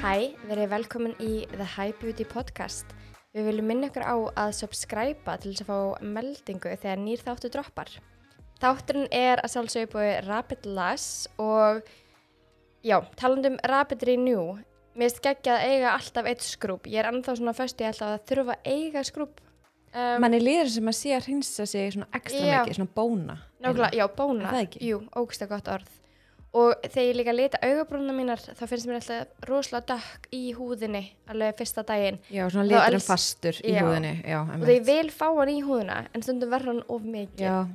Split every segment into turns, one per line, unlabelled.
Hæ, verið velkomin í The High Beauty Podcast. Við viljum minna ykkur á að subscriba til þess að fá meldingu þegar nýr þáttu droppar. Þátturinn er að sjálfsögja búið Rapid Lass og já, talandum Rapid Renew. Mér er skeggjað að eiga alltaf eitt skrúb. Ég er ennþá svona föst, ég ætla að þurfa að eiga skrúb. Um,
manni líður sem að sé að hreinsa sig svona ekstra
Já.
mikið, svona bóna
Nákvæmlega, já, bóna.
Er það ekki?
Jú, ógsta gott orð. Og þegar ég líka leita augabrúna mínar, þá finnst mér alltaf rosalega dökk í húðinni alveg fyrsta daginn.
já, svona
Þá
liturinn
els-
fastur í
Já.
húðinni já,
Og
einmitt.
þegar ég vil fá hann í húðina, en stundum verður hann of mikið.
já,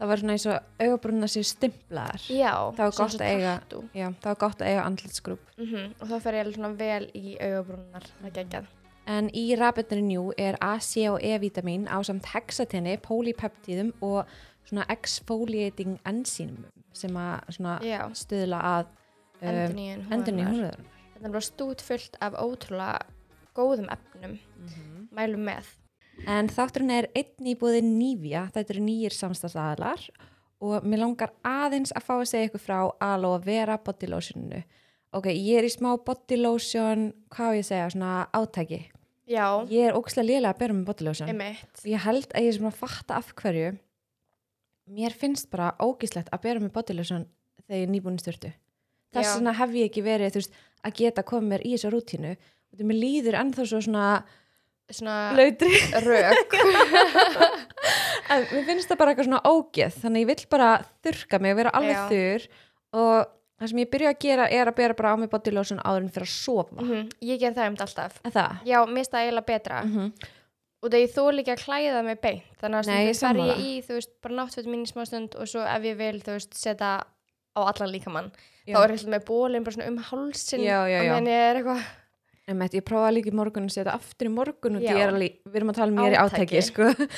það var svona eins og augabrunna sér stimplaðar
Já,
það var
svona
gott
svo
að eiga
tattoo.
já, það var gott að eiga andlitsgrúp
Mhm, Og þá fer ég alveg svona vel í augabrúnar, það geggjað.
en í Rapid Renew er A, C og E-vitamin ásamt hexatinni, polypeptíðum og svona exfoliating enzýmum sem að svona
Já.
stuðla að Um,
Endurnýjun húðarinnar.
endurinn í húðunar
Þetta er bara stút fullt af ótrúlega góðum efnum,
Mhm.
mælum með.
En þátturinn er einn í búði Nývja, þetta eru nýjir samstagsadalar og mér langar aðeins að fá að segja ykkur frá Aloe Vera Body Lotioninu. Ok, ég er í smá Body Lotion, hvað á ég að segja, svona átæki.
Já,
Ég er ókslega lélega að bera með Body Lotion.
einmitt.
Ég held að ég er svona að fatta af hverju. Mér finnst bara ógíslegt að bera með Body Lotion þegar ég er nýbúin í styrtu. Þess
Já.
vegna hef ég ekki verið, þú veist, að geta komið mér í þessa rútínu. Þetta mér líður ennþá svo svona
Svona
lautri.
rök.
En mér finnst það bara eitthvað svona ógeð, þannig ég vill bara þurka mig og vera alveg
Já.
þurr og það sem ég byrja að gera er að bera bara á mig body lotion áður en fyrir að sofa.
Mhm, Ég ger það um þetta alltaf.
Er það?
Já, mér finnst það eiginlega betra. og það ég þól ekki að klæða mig beint þannig
Mhm. Nei,
að
ég
stundum fer
sammála.
ég í þú veist, bara náttföt mín í smá stund og svo ef ég vil þú veist, setja á allan líkamann
Já.
þá er alltaf með bólin bara svona um hálsin
Já, já, já.
og menn ég er eitthvað
En meitt, ég prófaði líka í morgun að setja aftur í morgun og
Já.
ég er alveg, við erum að tala mér í
Átaki.
átæki, sko.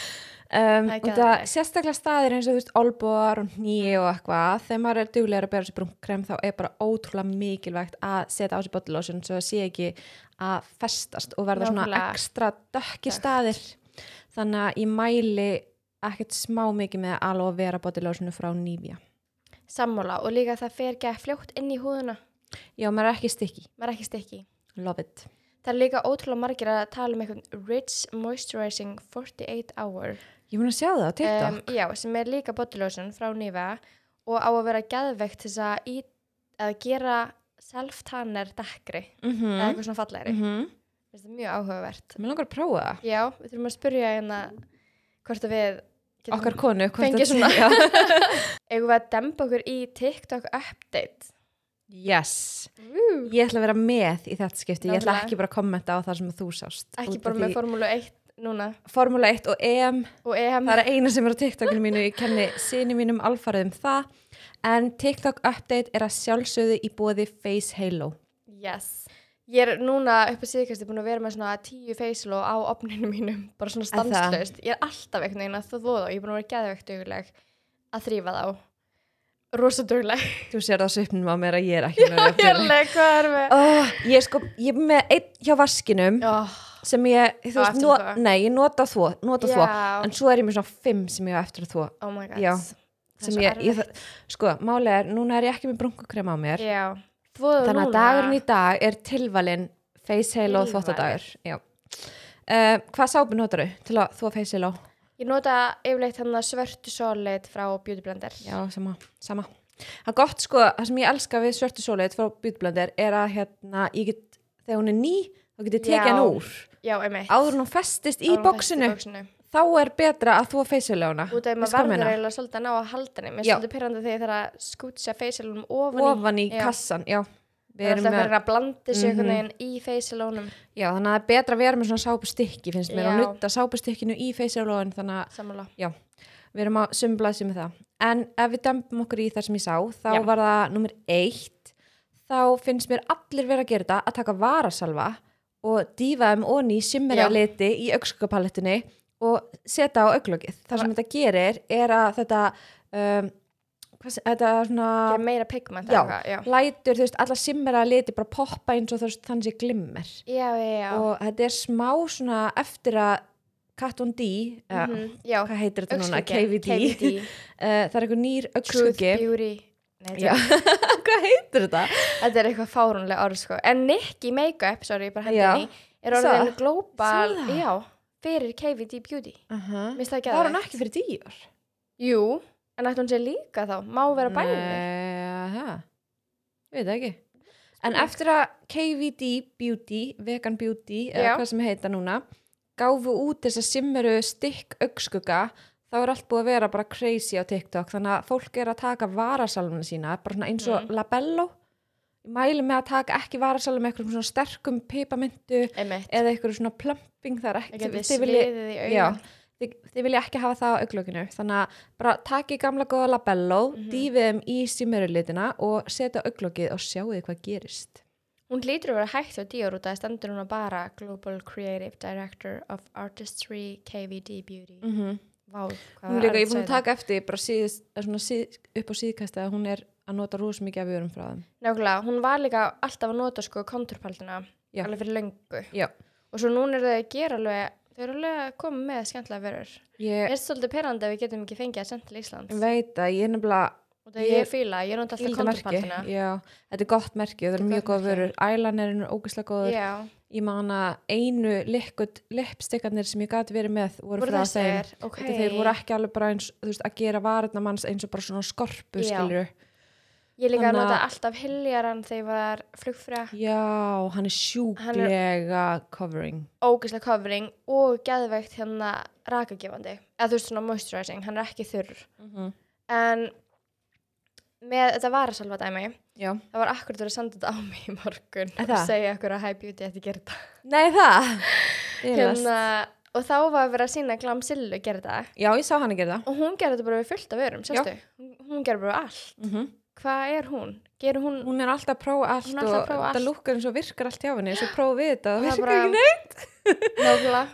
Um,
Það er
og það
geðveikt.
sérstaklega staðir eins og þú veist olbúar og nýi og eitthvað, þegar maður er duglegur að bera sér brúnkrem þá er bara ótrúlega mikilvægt að setja á sér body lotion svo það sé ekki að festast og verða svona
Nákvæmlega.
ekstra dökki staðir. Þannig að ég mæli ekkert smá mikið með alveg að vera body lotionu frá nýfja.
sammála og líka það fer ekki að fljótt inn í húðuna
Já, maður er ekki stikki.
maður er ekki stikki
Love it.
það er líka ótrúlega margir að tala um eitthvað Rich Moisturizing 48 Hour
Ég mun að sjá það á TikTok.
um, já, sem er líka bodylotion frá Nýva og á að vera geðveikt til þess að, í, að gera self-tanner dekkri eða
Mm -hmm.
eitthvað svona fallegri
Mm
Mér finnst það mjög áhugavert.
Mér langar að prófa það.
Já, við þurfum að spyrja hérna hvort að við getum,
Okkar konu. hvort
Fengið
að-
svona.
Já.
eigum við að dempa okkur í TikTok update.
yes.
Woo.
Ég ætla að vera með í þetta skipti. Ég ætla
Nákvæmlega.
ekki bara að kommenta á það sem þú sást.
Ekki
Út af
bara með
því
formúlu 1 núna
Formúla 1 og EM.
og EM.
Það er eina sem er á TikTokinu mínu, ég kenni sinni mínum alfarið um það. En TikTok update er að sjálfsögðu í bóði Face Halo.
Yes. Ég er núna upp á síðkast búin að vera með svona tíu facial á opninu mínum, bara svona
Er það?
stanslaust. Ég er alltaf einhvern veginn að þú þóða og ég er búin að vera geðveikt dugleg að þrýfa þá. Rosa dugleg.
Þú sér það á svipnum á mér að ég er ekki með
Ég er alveg, hvað er með?
Oh, ég er sko, ég er með einn hjá vaskinum
Oh.
sem ég,
Á
þú veist,
eftir
no,
að þvo.
nei, ég nota þvó, nota þvó,
Já.
en svo er ég með svona fimm sem ég á eftir að þvó,
Oh my god.
Já.
Það er
sem
svo
ég, ég, sko, málega er, núna er ég ekki með brunkukrem á mér,
Já. Þvoðu
þannig að
núna.
dagurinn í dag er tilvalinn face halo og
Tilvalinn.
þvottadagur, já. Uh, hvað sápu notaru til að þvó face halo?
Ég nota yfirleitt hann að svörtu solid frá Beauty Blender.
Já, sama, sama. Það er gott, sko, það sem ég elska við svörtu sólit frá bjútblöndir er að, hérna, ég get, þegar hún er ný, þá get ég
Já.
tekið hann úr.
Já, einmitt.
Áður en hún festist í
Áður en
bóksinu.
fæst í bóksinu.
þá er betra að þú að feysileguna
Út af að maður verður eiginlega svolítið að ná að halda henni. Mér er
Já.
svolítið pyrrandi þegar það er að skútsa feysilunum ofan,
ofan í
Já.
kassan já,
Það
við
er
erum
alltaf
með,
verið að blanda sig einhvern
Mhm.
veginn í feysilunum.
já, þannig að það er betra að vera með svona sápustykki finnst mér
Já.
að nutta sápustykkinu í feysileguna þannig að
Sammála.
við erum að sumblaði sig með það en ef við dempum okkur í þar sem ég sá þá
Já.
var það nummer eitt þá finnst mér allir vera að gera þetta að taka varasalva og dýfa þeim onni í simmera
Já.
liti í augskakapaletinni og setja á auglokið það sem þetta gerir er að þetta um, hvað, se- þetta svona
Það er meira pigment.
Ah. Já.
eitthvað, já.
lætur, þú veist, alla simmera liti bara poppa eins og þú veist, þannig sé glimmer
Já, já, já.
og þetta er smá svona eftir að Kat Von D eða
Mhm, já.
hvað heitir þetta núna,
Augnskugginn,
KVD, KVD.
KVD.
Eh, það er eitthvað nýr
Truth
augskuggi
Beauty. Nei,
Já.
þetta-
Hvað heitir þetta?
þetta er eitthvað fárunlega orð sko. En Nikki Makeup, sorry, ég bara hendi
Já.
henni, er orðin
Sá.
global,
Sá það.
já, fyrir KVD Beauty.
Uh -huh.
Mist það ekki
Var hún ekki fyrir dýr?
Jú, en ætti hún sér líka þá, má vera bæði.
Nei, það. Ég veit það ekki. En eftir að KVD Beauty, Vegan Beauty, eða
Já.
hvað sem heita núna, gáfu út þess að simmeru stykk augskugga, þá er allt búið að vera bara crazy á TikTok, þannig að fólk er að taka varasalmuna sína, bara svona eins og
Mhm.
labello. Ég mæli með að taka ekki varasalum með eitthvað svona sterkum pipamyntu
Einmitt,
eða eitthvað svona plumping, það er ekki,
ekki við
þið viljið-
sviðið í
Já,
augun.
þið, þið vilja ekki hafa það á auglökinu þannig að bara taki gamla góða labello
Mhm.
mm -hmm. dýfið þeim í símerulitina og setja auglökið og sjáuði hvað gerist
Hún hlýtur að vera hægt á Dior út að það stendur hún bara Global Creative Director of Artistry KVD Beauty.
mm -hmm.
Vá, hvað
Hún
var
er líka,
erfitt að
ég er búin að
segja Mhm. það.
taka eftir bara síðist, eða svona síð, upp á síðkast að hún er að nota rús mikið af vörum frá þeim
Nákvæmlega, hún var líka alltaf að nota sko kontúrpaldina,
Já.
alveg fyrir löngu.
Já.
Og svo núna er það að gera alveg, þau eru alveg að koma með skemmtilega verur.
Ég
Ég er svolítið perandi að við getum ekki fengið að senda til Íslands.
veit að ég er nefnilega
og það ég,
ég-
ég fíla, ég nota alltaf
ég þetta merki.
kontúrpaldina.
Já, þetta er gott merki
Þetta
og það eru
er
mjög
gott
góð
merki.
vörur Ælanerinn er ógeðslega góður
Já,
Ég man að einu likkut lippstikkarnir sem ég gati verið með voru,
voru
frá þeim
þessir, ok.
okay. þeir voru ekki alveg bara eins þú veist, að gera varðna manns eins og bara svona skorpu
Já.
skilur
Ég líka að
Þannig að-
nota alltaf hiljaran þegar ég var flugfræ,
já, hann er sjúklega covering
ógeðslega covering og geðveikt hérna rakagefandi. Eða þú veist svona moisturizing, hann er ekki þurr. En með þetta varasalva dæmi,
já,
Það var akkurat verið að senda þetta á mig í morgun
Er
og
það?
segja okkur að High Beauty ætti að gera þetta.
nei það Deilast.
Hérna, og þá var verið að sína Glamsillu gera þetta
já, ég sá hann að gera það
og hún gera þetta bara við fullt af vörum, sérstu? Hún- Hún gera bara allt. Hvað er hún? Gerur hún,
hún er alltaf að prófa allt
Mhm. Hún er alltaf að
og
prófa
þetta
allt.
lukkar eins og virkar allt hjá henni svo prófa við þetta
Það
og
er
virkar
bara-
ekki neitt
nákvæmlega?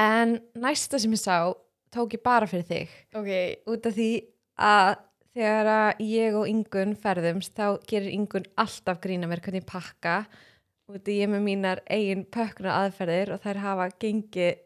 en næsta sem ég sá tók ég bara fyrir þig
Ok,
út af því að þegar að ég og Ingun ferðumst þá gerir Ingun alltaf grína mér hvernig ég pakka út af ég er með mínar eigin pökkuna aðferðir og þær hafa gengið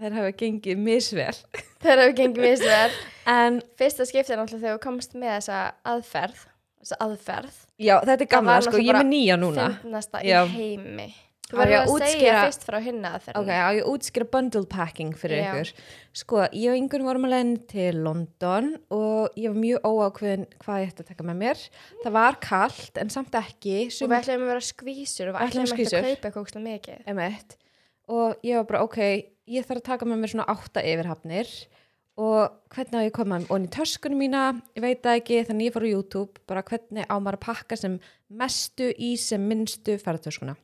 þær hafa gengið misvel
þegar við gengum í þessu verð.
en
Fyrsta skiptið náttúrulega þegar þú komst með þessa aðferð, þessa aðferð,
já þetta er gamla
var
sko,
náttúrulega
ég er
bara
með nýja núna
finnast í
Já.
heimi.
Á
Þú verður
ég að
að, segja
útskýra-
fyrst frá hinna
ok,
aðferðinu.
á ég að útskýra bundle packing fyrir
Já.
ykkur sko, ég og Ingun vorum að leiðin til London og ég var mjög óákveðin hvað ég ætti að taka með mér það var kalt en samt ekki
Og
Sum-
við ætlum að vera skvísur og við
Ætluðum
ætlum ekki að
skvísur.
kaupa eitthvað ógeðslega mikið.
M1 og ég var bara ok, ég þarf að taka með mér svona átta yfirhafnir og hvernig á ég að koma og í töskunum mína, ég veit það ekki, þannig ég fór á YouTube bara hvernig á maður að pakka sem mestu í sem minnstu ferðartöskuna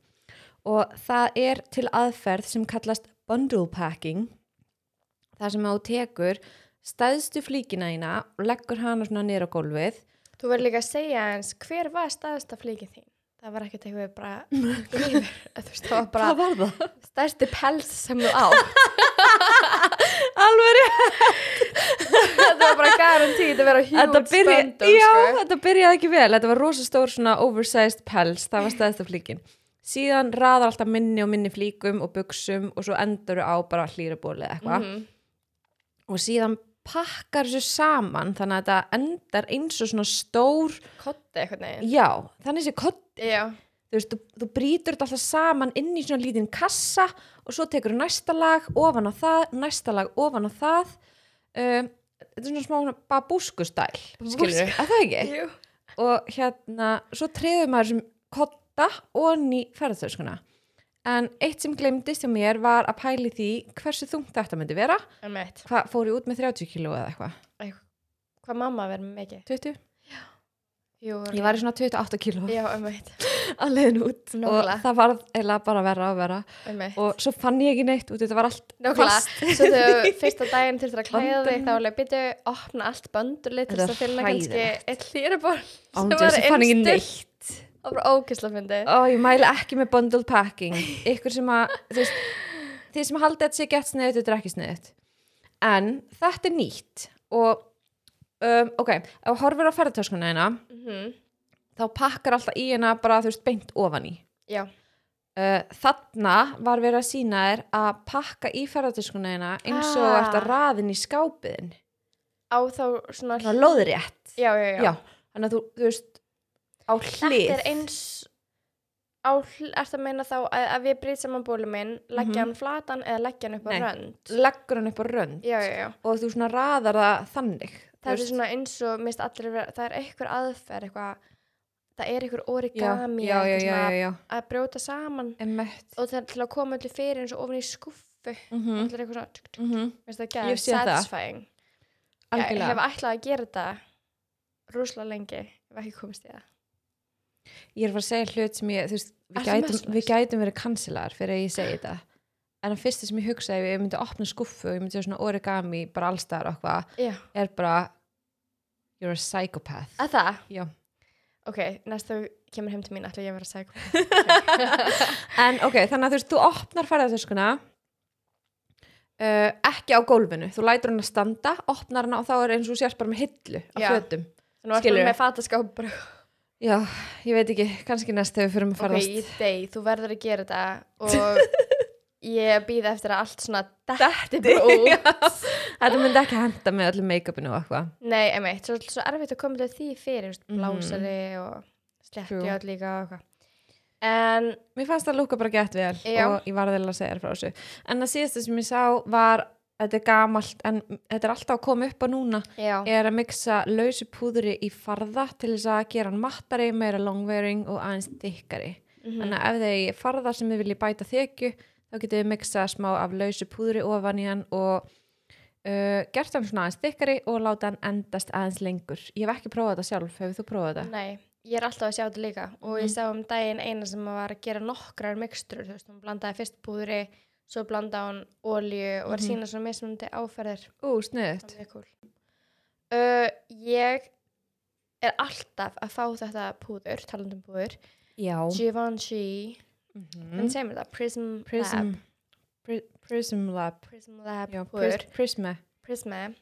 og það er til aðferð sem kallast bundle packing það sem þú tekur stæðstu flíkina þína og leggur hana svona niður á gólfið
Þú verður líka að segja eins, hver var staðasta flíkið þín? Það var ekkert eitthvað bara yfir, eða þú veist, það var bara
var það?
stærsti pels sem þú á.
Alveg
þetta var bara garantít að vera
þetta
huge
byrja,
spöndum,
já,
sko.
þetta byrjaði ekki vel þetta var rosa stór svona oversized pels það var stæðist af flíkin síðan raðar alltaf minni og minni flíkum og buksum og svo endur á bara hlýrabóli eða eitthvað
Mhm.
og síðan pakkar þessu saman þannig að þetta endar eins og svona stór
Kotti eitthvað neginn.
já, þannig sé kott
Já,
þú veist, þú, þú brýtur þetta alltaf saman inn í svona lítinn kassa og svo tekur næsta lag ofan á það, næsta lag ofan á það um, þetta er svona smá svona babúskustæl skilurðu,
Babúska.
er það ekki?
jú.
og hérna, svo treður maður sem kotta og ný ferðartöskuna en eitt sem glemdist hjá mér var að pæli því hversu þungt þetta myndi vera
Um eitt.
hvað fór ég út með 30 kíló eða eitthvað
Hvað mamma verður með mikið?
20?
Jú,
Ég var í svona 28 kíló
já, um eitt.
að leiðin út
Nógulega.
og það var eiginlega bara verra og verra
Um eitt.
og svo fann ég ekki neitt út, þetta var allt
Nákvæmlega,
fast.
svo þegar fyrsta daginn til þetta að klæða þig
Bandurinn.
þá alveg byrju opna allt böndurlið til
Þetta
þess að
er
finna kannski
hræðilegt.
eitt hlýraból sem
Án
var
þess að fann ekki
innstil
neitt
og bara ógisla fyndi.
Ó, ég mæli ekki með bundle packing ykkur sem að þú veist, þið sem haldið að þetta sé gett sniðut þetta er ekki sniðut en þetta er nýtt og um, ok, ef þú horfir á ferðartöskuna hérna
Mhm.
þá pakkar alltaf í hérna bara þú veist beint ofan í
Já.
uh, þarna var verið að sína þér að pakka í ferðartöskuna hérna eins og
Ah.
ah. ert að raðin í skápiðin
á þá svona
svona lóðrétt
já, já, já,
já, þannig að þú, þú veist á hlið
þetta er eins á, hl- ertu að meina þá að, að við brýt saman bólum minn leggja hann flatan eða leggja hann upp á
Mhm. Nei.
rönd
leggur hann upp á rönd
já, já, já,
og þú svona raðar það þannig þú
það er
veist.
svona eins og mist allir, vera- það er einhver aðferð eitthvað, það er einhver
já,
origami
já, já,
eitthvað
já,
svona
já, já.
að brjóta saman
Emmett
og það er til að koma öllu fyrir eins og ofan í skuffu
mm
mm.
-hmm.
allir eitthvað svona tsk, tsk,
Mm -hmm.
veist það
Ég
gæði
hef séð það.
satisfying ég
algjörlega
hef ætlað að gera þetta rúslega lengi ef ekki komist í það
ég er að fara að segja hlut sem ég þú veist, við,
Ertu
gætum,
mestlaus?
við gætum verið kansilar fyrir að ég segi þetta en að fyrsta sem ég hugsaði ef ég myndi opna skuffu og ég myndi sjá svona origami bara allstæðar og eitthvað
já,
er bara you're a psychopath
að það
Já.
ok, næst þú kemur heim til mín ætla ég að vera sæk
en ok, þannig að þú veist, þú opnar ferðartöskuna uh, ekki á gólfinu þú lætur hann að standa, opnar hann og þá er eins og þú sérst bara með hillu af
Já.
fötum
nú ertu
Skilurðu?
bara með fataskáp bara,
já, ég veit ekki, kannski næst þegar við fyrir að
ok,
ferðast
ég dey, þú verður að gera þetta og ég býð eftir að allt svona detti bara út
þetta myndi ekki henda með öllu make-upinu og eitthvað
Nei, emeitt, svo, svo erfitt að koma til því fyrir, veist,
Mhm.
blásari og sletti
True.
átt líka og eitthvað. En,
Mér fannst það lúka bara gett vel
Já.
og ég var að að segja þér frá þessu. En það síðasta sem ég sá var, þetta er gamalt, en þetta er alltaf að koma upp á núna,
já,
er að mixa lausu púðri í farða til þess að gera hann mattari, meira longwearing og aðeins þykkari.
mhm,
Þannig að ef þið er farða sem þið viljið bæta þykju, þá getið þið mixa smá af lausu púðri ofan í hann og uh, gert hann svona aðeins þykkari og láta hann endast aðeins lengur. Ég hef ekki prófað þetta sjálf, hefur þú prófað þetta?
nei, ég er alltaf að sjá þetta líka og ég
Mhm.
sá um daginn eina sem var að gera nokkrar mikstur, þú veist, hún blandaði fyrst púðri, svo blandaði hún olíu og var að
Mhm.
sína svona mismunandi áferðir.
Ú, sniðt.
Það er mjög cool. Uh, ég er alltaf að fá þetta púður, talandum púður,
Já.
Givenchy,
Mhm.
hvernig segir mér það? Prism, Lab,
Prism Pri Prism Lab
Prism Lab
Já,
púður.
pris Prisma
prismi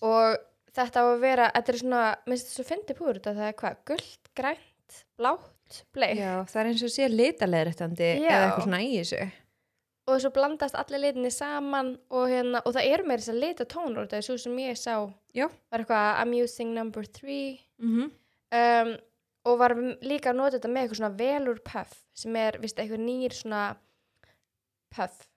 og þetta á að vera, þetta er svona minnst þetta svo fyndi púr út að það er hvað gullt, grænt, blátt, bleik
Já, það er eins og sé litaleðrættandi
Já.
eða eitthvað svona í þessu
og svo blandast allir litinni saman og, hérna, og það eru meira þess að lita tónur út af þessu sem ég sá
Já.
var eitthvað amusing number three
mm -hmm.
um, og var m- líka að nota þetta með eitthvað svona velur puff sem er vist eitthvað nýr svona puff,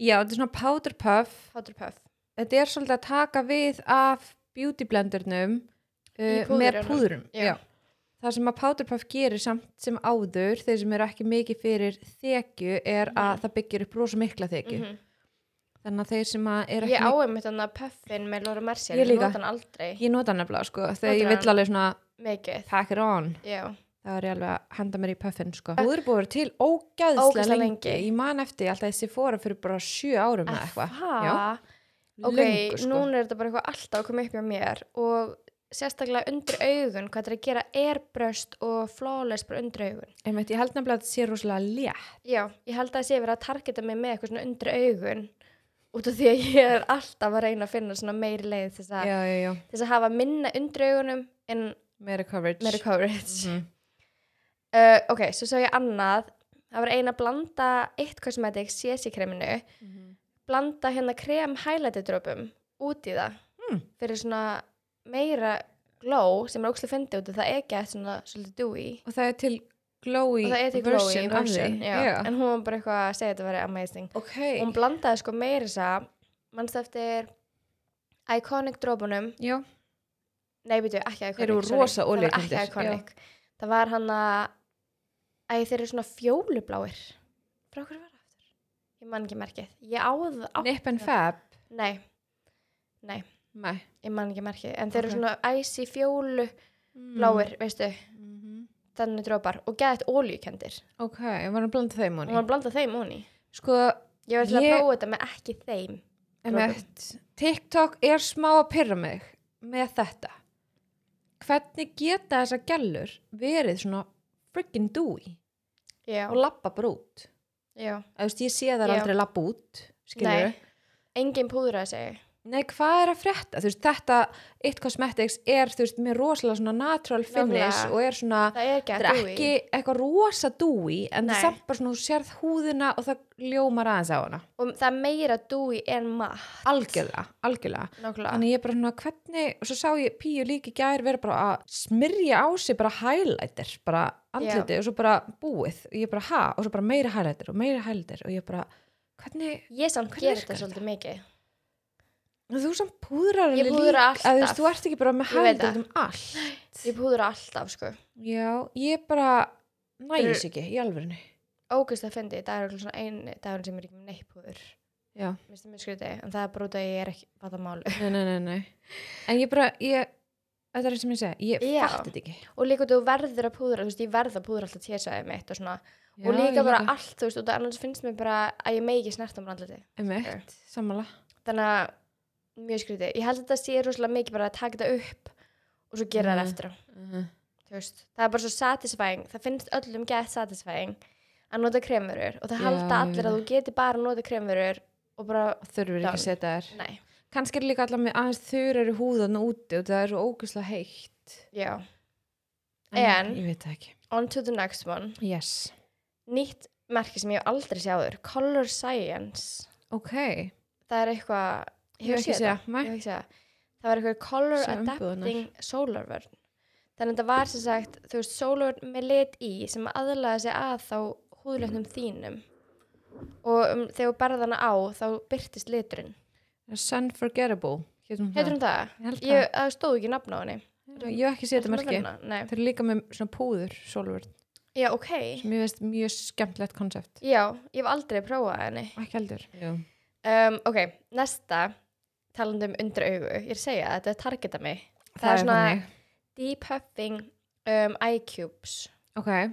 Já, þetta er svona powder puff
hátur puff
Þetta er svolítið að taka við af beauty blendernum
Í
uh, með
púðrunum.
púðurum
Já.
Það sem að powder puff gerir samt sem áður þeir sem eru ekki mikið fyrir þekju er að það byggir upp rosa mikla þekju
Mhm.
þannig að þeir sem að eru
ég
ekki mikið
áum þetta puffin með Laura Mercier,
Ég
ég
líka.
nota hann aldrei
Ég nota nefnilega sko þegar
Notar
ég vill
hana.
alveg svona
mikið,
pack it on
já
Það var ég alveg að henda mér í puffin sko. Púður búið til ógæðslega
Ógeðslega
lengi.
lengi.
Ég man eftir alltaf þessi fóra fyrir bara sjö árum eða eitthvað. Já,
Aha. Ok,
löngu, sko.
núna er þetta bara eitthvað alltaf að koma upp hjá mér og sérstaklega undir augun, hvað þetta er að gera airbrust og flawless bara undir augun.
Einmitt, ég held nefnilega að þetta sé rosalega létt.
Já, ég held að það sé verið að targeta mig með eitthvað svona undir augun út af því að ég er alltaf að reyna að finna svona meiri leið til þess að,
Já, já, já.
til þess að hafa minna undir augunum en
Meira coverage.
meiri coverage.
Mhm.
Uh, ok, svo sá ég annað, það var eina að blanda eitt kosmetik CC-kreminu
Mhm.
blanda hérna krem highlighterdropum út í það
Hmm.
fyrir svona meira glow sem er ókslega fyndi út og það er gett svona svolítið dewy
Og það er til glowy
og það er til glowy
version,
version
af því.
já. en hún var bara eitthvað að segja að þetta væri amazing
Ok.
hún blandaði sko meira þess að mannst eftir iconic dropunum
Já.
nei byrju ekki iconic
Þeir eru
sorry.
rosa
það var ekki
olíukenndir,
iconic það var hann að æ þeir eru svona fjólubláir frá hverju var það aftur? ég man ekki merkið ég áð á...
Nip and Fab.
nei nei
Nei.
ég man ekki merkið, en þeir eru
Ok. Mm.
svona æsi fjólu Mm. bláir, veistu,
Mhm.
þannig drópar og geðið ólíkendir
Ok, ég var að blanda þeim
og
honi.
maður blanda þeim óni
Sko,
ég var til að
Ég-
prófa þetta með ekki þeim
Emmett, TikTok er smá að pyrra mig með þetta. Hvernig geta þessar gælur verið svona freaking dúi
já,
og lappa bara út?
já,
Eða, þú veist, ég sé þær
Já.
aldrei lappa út, skilur
Nei. engin púðraði sig
Nei, hvað er að frétta? Þú veist, þetta It Cosmetics er, þú veist, með rosalega svona natural
Nákvæmlega.
finish og er svona
Það er ekki
þetta
að
er
dúi.
ekki eitthvað rosa dúi en það
Nei.
er samt bara svona, þú sérð húðina og það ljómar aðeins á hana
Og það er meira dúi en matt.
algjörlega, algjörlega
Nákvæmlega.
Þannig ég bara svona hvernig, og svo sá ég píu líki gær vera bara að smyrja á sig bara highlighter, bara andliti og svo bara búið, og ég bara ha, og svo bara meira highlighter og meira highlighter og ég bara, hvernig,
Ég samt
Hvernig
ger
virkar
þetta svolítið mikið.
þú samt púðrar
Ég
alveg
púðra
líka- eða
alltaf.
þú veist, þú ert ekki bara með
Ég veit
highlighter um allt.
Ég púður alltaf, sko.
Já, ég bara
Fyrir-
nægis ekki, í alvörinu.
Ógust að fyndi, það er örugglega svona einu dagur sem ég er ekki með neitt púður.
Já,
Mér finnst það mjög skrítið, en það er bara út af að ég er ekki að það málu.
nei, nei, nei, nei. En ég bara, ég, þetta er það sem ég segja, ég
Já.
fatt þetta ekki.
Og líka þú verður að púðra, þú veist, ég verð að púðra alltaf tésæði mitt og svona. og
Já,
líka
ég
bara allt, þú veist, út af annars finnst mér bara að ég megi ekki snert á mér andliti.
Einmitt, sammála.
Þannig að mjög skrítið. Ég held að þetta sé rosalega mikið bara að taka þetta upp og svo gera það
Mhm.
eftir á.
Uh
Þú veist, það er bara svo satisfying. Það finnst öllum gett satisfying að nota kremverur og það
Já,
halda
ég
allir
veit
að þú geti bara að nota kremverur og bara,
Þurfur ekki að
Done.
setja þær.
nei,
kannski er líka allar með aðeins þurrari húðan úti og það er svo ógustlega heitt
já. En-
ég veit það ekki
On to the next one.
yes.
Nýtt merki sem ég hef aldrei sjáður, Color Science.
ok,
það er eitthvað
Ég hef
hefur
ekki
séð
séð,
þetta?
nei.
Ég hef ekki séð það það var eitthvað color
Sjá
adapting
umbúðirnar.
solar vörn þannig að það var sem sagt þú veist solar vörn með lit í sem aðlaði sig að þá húðlöfnum þínum og um, þegar þú berð hana á þá byrtist liturinn
sun forgettable heitir hún
heitir hún
það?
það?
Ég hérna? held
Ég, það stóð ekki nafn á henni
það ég hef ekki séð þetta merki
Nei.
þeir eru líka með svona púður solvörn
já ok
mér veist mjög skemmtilegt konsept
já ég hef aldrei prófað henni
ekki heldur já.
um, ok næsta talandum undir augu ég er að segja að þetta er targeta mig
það,
er
er
svona-
þannig
depuffing um, eye cubes
ok,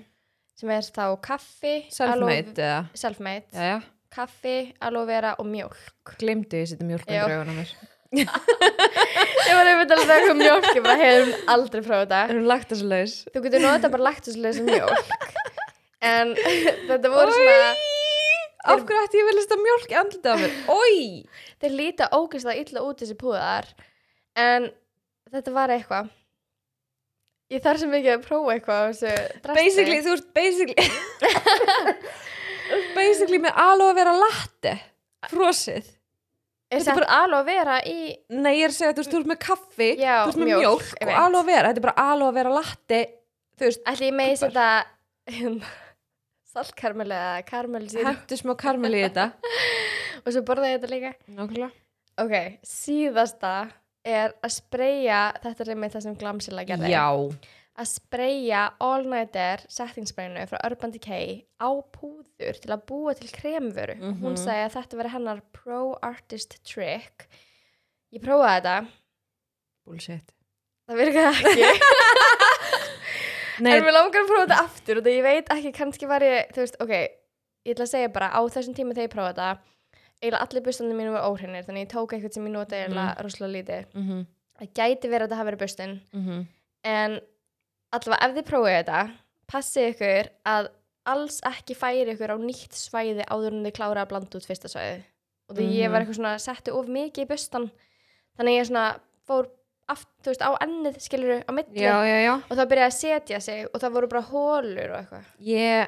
sem er þá kaffi aloe-
self-made eða
selfmade,
já, já,
kaffi, aloe vera og mjólk
glimti ég setja mjölk
Já.
undir augunum mér
ég var einmitt að segja um mjólk ég bara hefum aldrei prófað þetta
erum lagt þessu laus
þú getur nota bara laktuslega sem mjólk en þetta voru svona
af hverju ætti ég vel að mjölk í andlita á mér oi,
þeir líta ógeðslega illa út þessi púðar en þetta var eitthvað ég þarf sem ekki að prófa eitthvað á þessu drasti.
basically, þú ert basically Þú ert basically með aloe vera latte frosið
er
þetta
sett bara... aloe vera í
nei, ég er að segja, þú veist, þú ert með kaffi
Já,
þú ert með
mjólk,
mjólk,
ég
og
veit.
aloe vera þetta er bara aloe vera latte þú veist,
ætli ég megi
Kubar.
setja hérna, saltkarmel eða karmel síðan
hættu smá karmel í þetta
og svo borða ég þetta líka
nákvæmlega
Ok, síðasta er að spreja, þetta er með það sem Glamsilla gerði,
já,
að spreja All Nighter settingspreyinu frá Urban Decay á púður til að búa til kremvöru.
Mhm.
Hún sagði að þetta veri hennar pro artist trick. Ég prófaði þetta,
bullshit
það virkaði ekki,
nei,
en mér langar að prófa þetta aftur og það ég veit ekki, kannski var ég, þú veist, ok, ég ætla að segja bara á þessum tíma þegar ég prófaði þetta, eiginlega allir bustandi mínu var óhreinir, þannig ég tók eitthvað sem ég nota eiginlega rosalega lítið.
mm -hmm,
Það gæti verið að þetta hafi verið bustinn,
mm -hmm.
en allavega ef þið prófið þetta passið ykkur að alls ekki færi ykkur á nýtt svæði áður en þið klára að blanda út fyrsta svæði og því ég
Mhm.
var eitthvað svona setti of mikið í bustan þannig ég svona fór aft, þú veist, á ennið skilur á milli
já, já, já
og það byrjaði að setja sig og það voru bara hólur og eitthvað
ég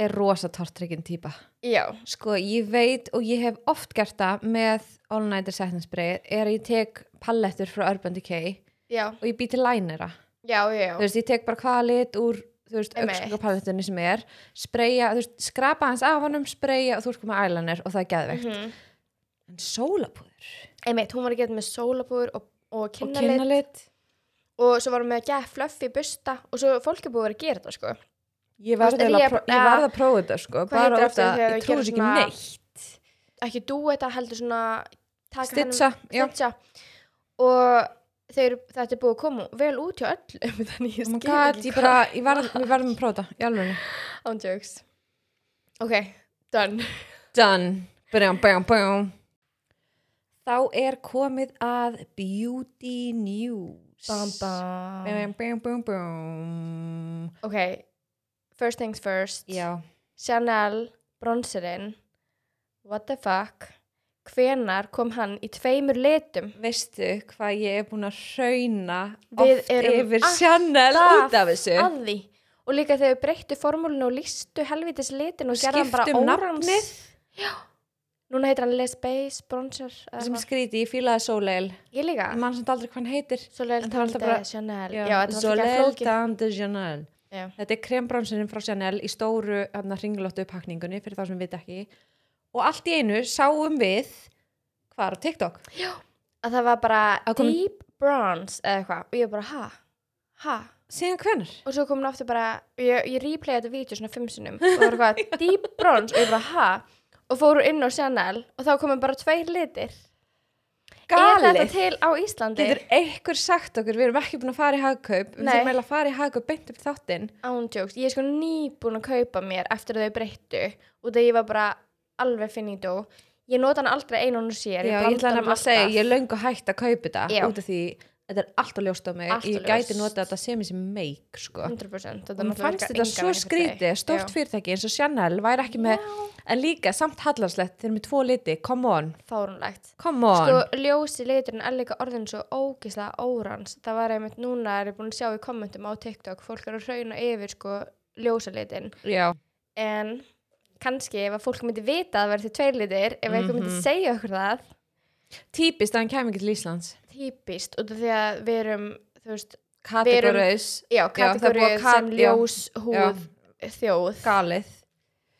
er rosa tortryggjum típa
já,
Sko, ég veit og ég hef oft gert það með All Nighter Settingsbreið er að ég tek palettur frá Urban Decay
já,
og ég býti lænera.
já, já, já.
Þú veist, ég tek bara hvaða lit úr, þú veist,
Einmitt.
aukslokapalettunni sem er, spreja, þú veist, skrapa hans af honum, spreja og þú ert komið eyeliner og það er geðveikt.
Mhm.
En sólapúður
einmitt, hún var að geta með sólabúr og, og
og
kynnalit og,
kynnalit,
svo varum við að geta fluffy busta og svo fólk er búið að vera að gera þetta sko
ég
Þú
varð
veist,
eiginlega
ég-
að pró-
ja.
ég varð að prófa þetta, sko,
heitir
bara
aftur
út
þegar
að ég
þau
trúi
gera
þessu ekki
svona-
neitt.
ekki dúeta heldur svona taka
Stitcha, já.
hennar, stitcha og þeir, þetta er búið að koma vel út hjá öllum þannig ég
Oh my
skil
god,
ekki
ég bara, ég varð, við verðum að prófa þetta, í alveg.
hvað án jokes ok, done
Done. Bam, bam, bam. Þá er komið að Beauty News. Bam, bam, bam, bam.
ok, first things first
Já.
Chanel, bronserinn what the fuck hvenar kom hann í tveimur litum
Veistu hvað ég er búin að hrauna
Við
oft
erum
yfir Chanel út af þessu?
að því og líka þegar við breyttu formúlinu og listu helvitis litin og gerðum bara
Skiptum
órans
nafnið
núna heitir hann Les Base, Bronzer eða
sem
eitthvað.
skríti, ég fílaði Soleil.
ég líka
Ég man samt aldrei hvað hann heitir.
Soleil
En það var alltaf
Tante
bara-
Chanel já, þetta var alltaf
Soleil
ekki flókin
Dame de Chanel.
Já.
Þetta er krembransunum frá Chanel í stóru hérna, hringlóttu pakningunni fyrir þá sem við ekki. Og allt í einu sáum við hvar á TikTok.
að það var bara
Að komin-
Deep Bronze eða eitthvað og ég bara ha, ha
Síðan hvenar?
og svo komin aftur bara ég, ég replaya þetta vídeo svona fimm sinnum og það var eitthvað Deep Bronze og ég bara ha og fóru inn á Chanel og þá komum bara tveir litir er þetta
Galið!
til á Íslandi
Getur einhver sagt okkur, við erum ekki búin að fara í hagkaup, við
Nei.
þurfum eiginlega að fara í hagkaup beint upp í þáttinn.
ándjóks, ég er sko nýbúin að kaupa mér eftir að þau breyttu og það ég var bara alveg finito ég nota hann aldrei einu og sér
Já, ég
blanda
ætla
honum
nefnilega að segja,
alltaf.
ég er löngu hægt að kaupa þetta
Já.
út af því þetta er alltaf ljóst á mig,
Allt of
ég gæti
ljóst.
nota þetta sem sem meik, sko.
100% þetta
Hún
náttúrulega
fannst
virkar
þetta
engan veginn
svo
fyrir þig.
skrítið, stórt
Já.
fyrirtæki eins og Chanel væri ekki með, en líka samt hallarslegt, þeir eru með tvo liti, come on,
fárunlegt
come on.
sko ljósi liturinn er líka orðin svo ógislega órans það var einmitt núna er ég búin að sjá í kommentum á TikTok fólk eru að hrauna yfir sko ljósalitin
Já,
en kannski ef að fólk myndi vita að það verði til tveir litir ef einhver myndi
Mhm.
segja okkur það
típist að hann kæmi ekki til Íslands.
típist út af því að við erum þú veist, erum-
Kategóriðs,
já,
það er búið að
kategórið
kat-
sem ljós húð
já,
þjóð,
galið.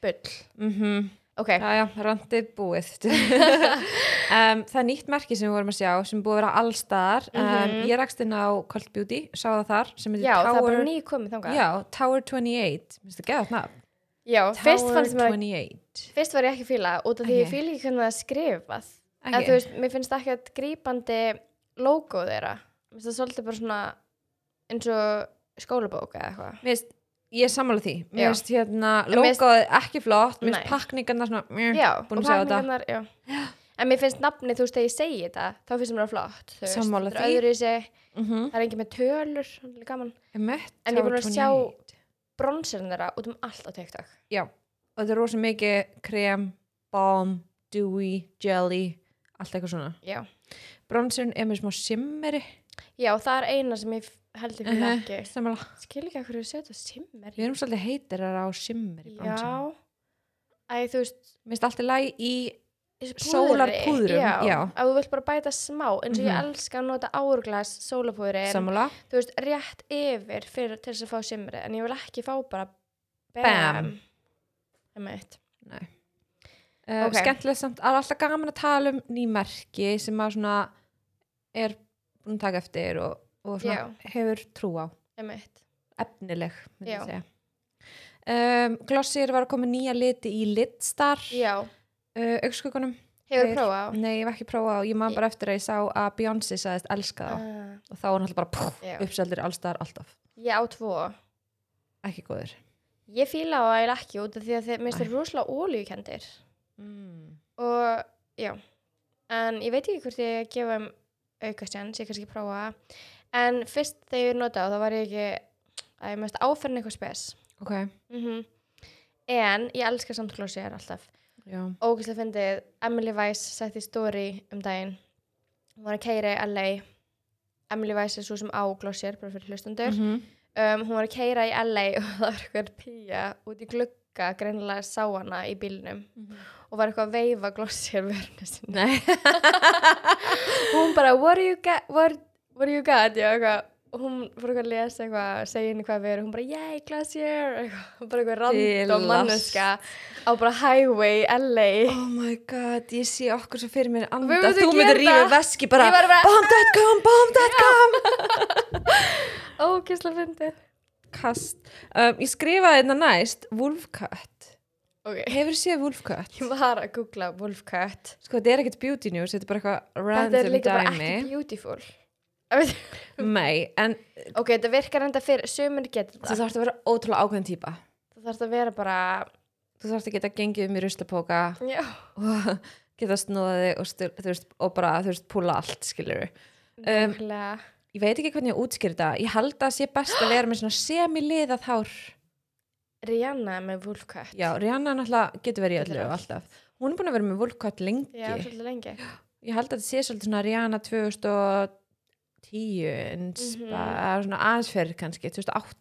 bull
Mm
ok,
Já, já, randið búið. um, það er nýtt merki sem við vorum að sjá sem er búið að vera allstaðar. Um,
Mhm.
Ég rakst inn á Cold Beauty, sá það þar, sem heitir
já,
Tower...
það er bara nýju komið þangað
Já, Tower 28. Mér finnst það geðað nafn.
já fyrst
Tower
fannst mér
28.
fyrst var ég ekki að fíla út af því
Ok.
ég fíla ekki hvernig það er skrifað eða þú
Ekki.
veist, mér finnst ekki að grípandi logo þeirra mér finnst það svolítið bara svona eins og skólabók eða eitthvað
Mér finnst, ég er sammála því.
Já.
Mér finnst hérna,
En mér finnst-
logoð ekki flott, mér finnst
Nei.
pakningarna svona, mjö,
já,
búin
og
að sjá þetta.
pakningarnar, já en mér finnst nafni, þú veist, þegar ég segi þetta þá finnst mér það flott, þú veist
Sammála
það
því.
er öðruvísi,
Mm -hmm.
það er engin með tölur það er gaman, En
En
ég er búin að sjá- bronserinn þeirra út um allt á TikTok
Já, og þetta er rosa mikið krem, balm, dewy, jelly, allt eitthvað svona.
já,
Bronsurinn er með smá simmeri.
já það er eina sem ég f- held ég fyrir
Mhm.
ekki
Sammála.
skil ekki að hverju setja simmer
Við erum svolítið heitirar á simmeri bronsurinn.
já, æ, þú veist
Mér finnst alltaf læg í
Þessi
Sólarpúðrum,
já,
já.
að þú vilt bara bæta smá eins og ég
Mhm.
elska að nota árglas sólapúðri,
sammála.
þú veist, rétt yfir fyrir til þess að fá simri, en ég vil ekki fá bara bam,
Bam.
bam.
Uh,
Ok.
Skemmtilegt samt, það er alltaf gaman að tala um ný merki sem maður svona er búin að taka eftir og, og svona hefur trú á.
Emitt.
Efnileg, myndi
Já.
ég segja. Um, Glossir var að koma með nýja liti í Litstar uh,
já,
augskugunum.
hefur
Þeir-
prófað á
Nei, ég var ekki að prófa og ég man bara eftir að ég sá að Beyoncé sagðist elska þá
uh,
og þá var hann alltaf bara pff,
Já.
uppseldir allstar alltaf.
ég á tvo
Ekki góður.
ég fíla á að ég ekki út af því að þeir minnst þeir rosalega ólíukendir
Mm.
og já en ég veit ekki hvort ég gefa um auka sjans, ég kannski prófa en fyrst þegar ég notaði þá var ég ekki að ég mest áferðin eitthvað spes
Ok,
mm en ég elska samt glósiðar alltaf
já.
ógæslega fyndið, Emily Weiss setti story um daginn hún var að keira í LA Emily Weiss er svo sem á glósiðar bara fyrir hlustandur
-hmm.
um, hún var að keira í LA og það var eitthvað píja út í glugga greinilega sá hana í bílnum og var eitthvað að veifa glossir vörinu sinni
Nei.
hún bara, what do you got, what, what do you got já, eitthvað og hún fór eitthvað að lesa eitthvað, segja henni hvað við erum hún bara, yay, glacier eitthvað, bara eitthvað random
Bilast.
manneska á bara highway, LA
Oh my god, ég sé okkur sem fyrir mér anda,
Við myndum
þú
gera
myndir rífið
það.
veski bara, "Ah!"
Ég væri bara-
bomb.com, bomb.com
ókysla fyndið
Kast, um, ég skrifaði þetta næst Wolfcut,
ok,
hefur séð Wolfcut?
ég var að googla wolfcut
Sko, þetta er ekkert beauty news, þetta er bara eitthvað
þetta er
random
líka bara
dæmi
ekki beautiful Ég veit-
Nei, en
ok, þetta virkar enda fyrir sömur getur
þú
það
þarfst að vera ótrúlega ákveðin típa
það þarf að vera bara
Þú þarfst að geta gengið um í ruslapóka
já,
og geta snúðaði og, stu, þú veist, og bara, þú veist, púla allt, skilur um,
nákvæmlega.
Ég veit ekki hvernig ég útskýr þetta, ég held að sé best að vera með svona semi-liðað hár
Rihanna er með Woolcut.
Já, Rihanna náttúrulega getur verið í
Getur
öllu
allt.
alltaf. Hún er búin að vera með Volkot lengi.
Já, svolítið lengi.
Ég held að þetta sé svolítið svona Rihanna 2010 en
Mhm.
spa, eða svona aðeins fyrir kannski, 2008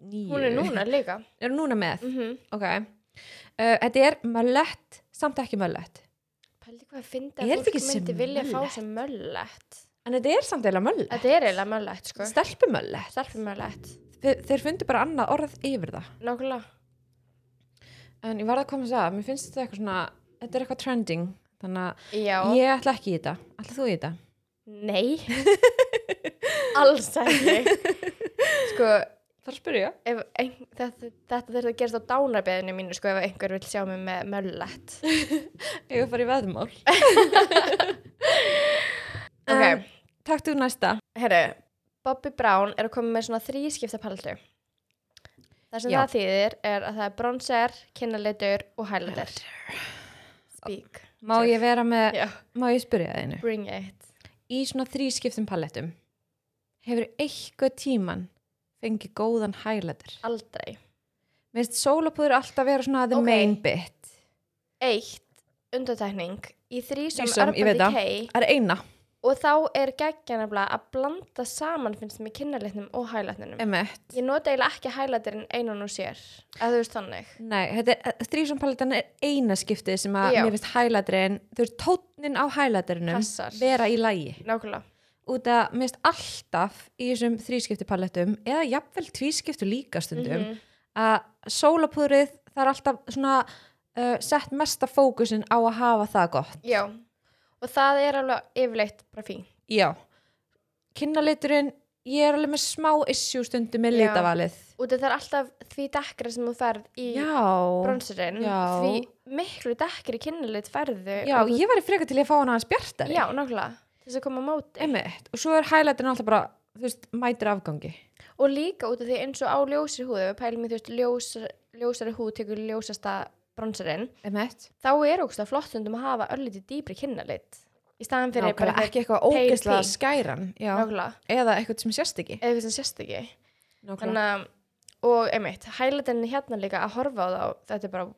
Hún er núna líka.
Er hún núna með?
Mm -hmm.
Ok. Uh, þetta er möllett, samt ekki möllett.
Pældi hvað að finna að
Er þetta
fólk
ekki sem
myndi vilja fá
möllett?
sem möllett.
En þetta er samt eiginlega möllett.
Þetta er eiginlega möllett, sko.
Stelpumöllett.
Stelpumöllett.
Þe- Þeir fundu bara annað orð yfir það.
Nákvæmlega.
En ég varð að koma þess að, mér finnst þetta eitthvað svona, þetta er eitthvað trending. Þannig að
Já.
ég ætla ekki í þetta. Ætla þú í þetta?
Nei. Alls ekki. Sko,
Það er að spyrja.
ef ein, þetta, þetta þurfti að gerast á dánarbeðinu mínu, sko, ef einhver vil sjá mig með möllett.
Ég var að fara í veðmál.
Ok,
En- Takk þú næsta.
herru, Bobby Um, Brown er að koma með svona þrískipta palettu. Það sem
Já.
það þýðir er að það er bronzer, kinnalitur og highlighter. Speak.
Má
Sure.
ég vera með,
Já,
má ég spyrja það einu?
bring it.
Í svona þrískiptum palettum, hefur eitthvað tíman fengið góðan hægletur?
Aldrei.
Mér finnst sólapúður alltaf vera svona the
Ok.
main bit.
Eitt, undartekning, í þrísum
Threesome, ég veit
Urban
það.
Decay
Það er eina,
og þá er geggjarnafla að blanda saman finnst mér kinnalitnum og highlightnum.
emett.
Ég nota eiginlega ekki highlighterinn einan og sér, að þú veist þannig.
Nei, þetta er, þrísum palettan er eina skiptið sem að
Já.
mér finnst hægleturinn, þú veist, tónnin á hægleturinnum
Passar.
vera í lagi.
Nákvæmlega.
Út að mér finnst alltaf í þessum þrískiptu palettum, eða jafnvel tvískiptu líka stundum,
Mhm.
að sólapúðrið það er alltaf svona uh, sett mesta fókusin á að hafa það gott
Já, og það er alveg yfirleitt bara fín.
já kynnaliturinn, ég er alveg með smá issue stundum með
Já.
litavalið
Út af það er alltaf því dekkra sem þú ferð í
já,
bronserinn,
Já.
því miklu dekkri kynnilit ferðu.
já
og þú-
ég var í freka til ég að fá hana hans bjartari
já, nákvæmlega, til þess að koma á móti.
Einmitt. og svo er hælæturinn alltaf bara þú veist, mætir afgangi
Og líka út af því eins og á ljósri húð, ef við pælum í þú veist ljós, ljósari húð tekur ljósasta bronserinn,
Emmett.
þá er ógst að flott stundum að hafa öllítið dýpri kynnilit. Í staðan fyrir
Nákvæmlega,
eitthvað-
ekki eitthvað
pale
ógeðslega
pink.
skæran já.
nákvæmlega,
eða eitthvað sem sérst ekki
eða eitthvað sem sérst ekki.
Nákvæmlega.
Þannig að, og einmitt, hælatinni hérna líka að horfa á þá, þetta er bara,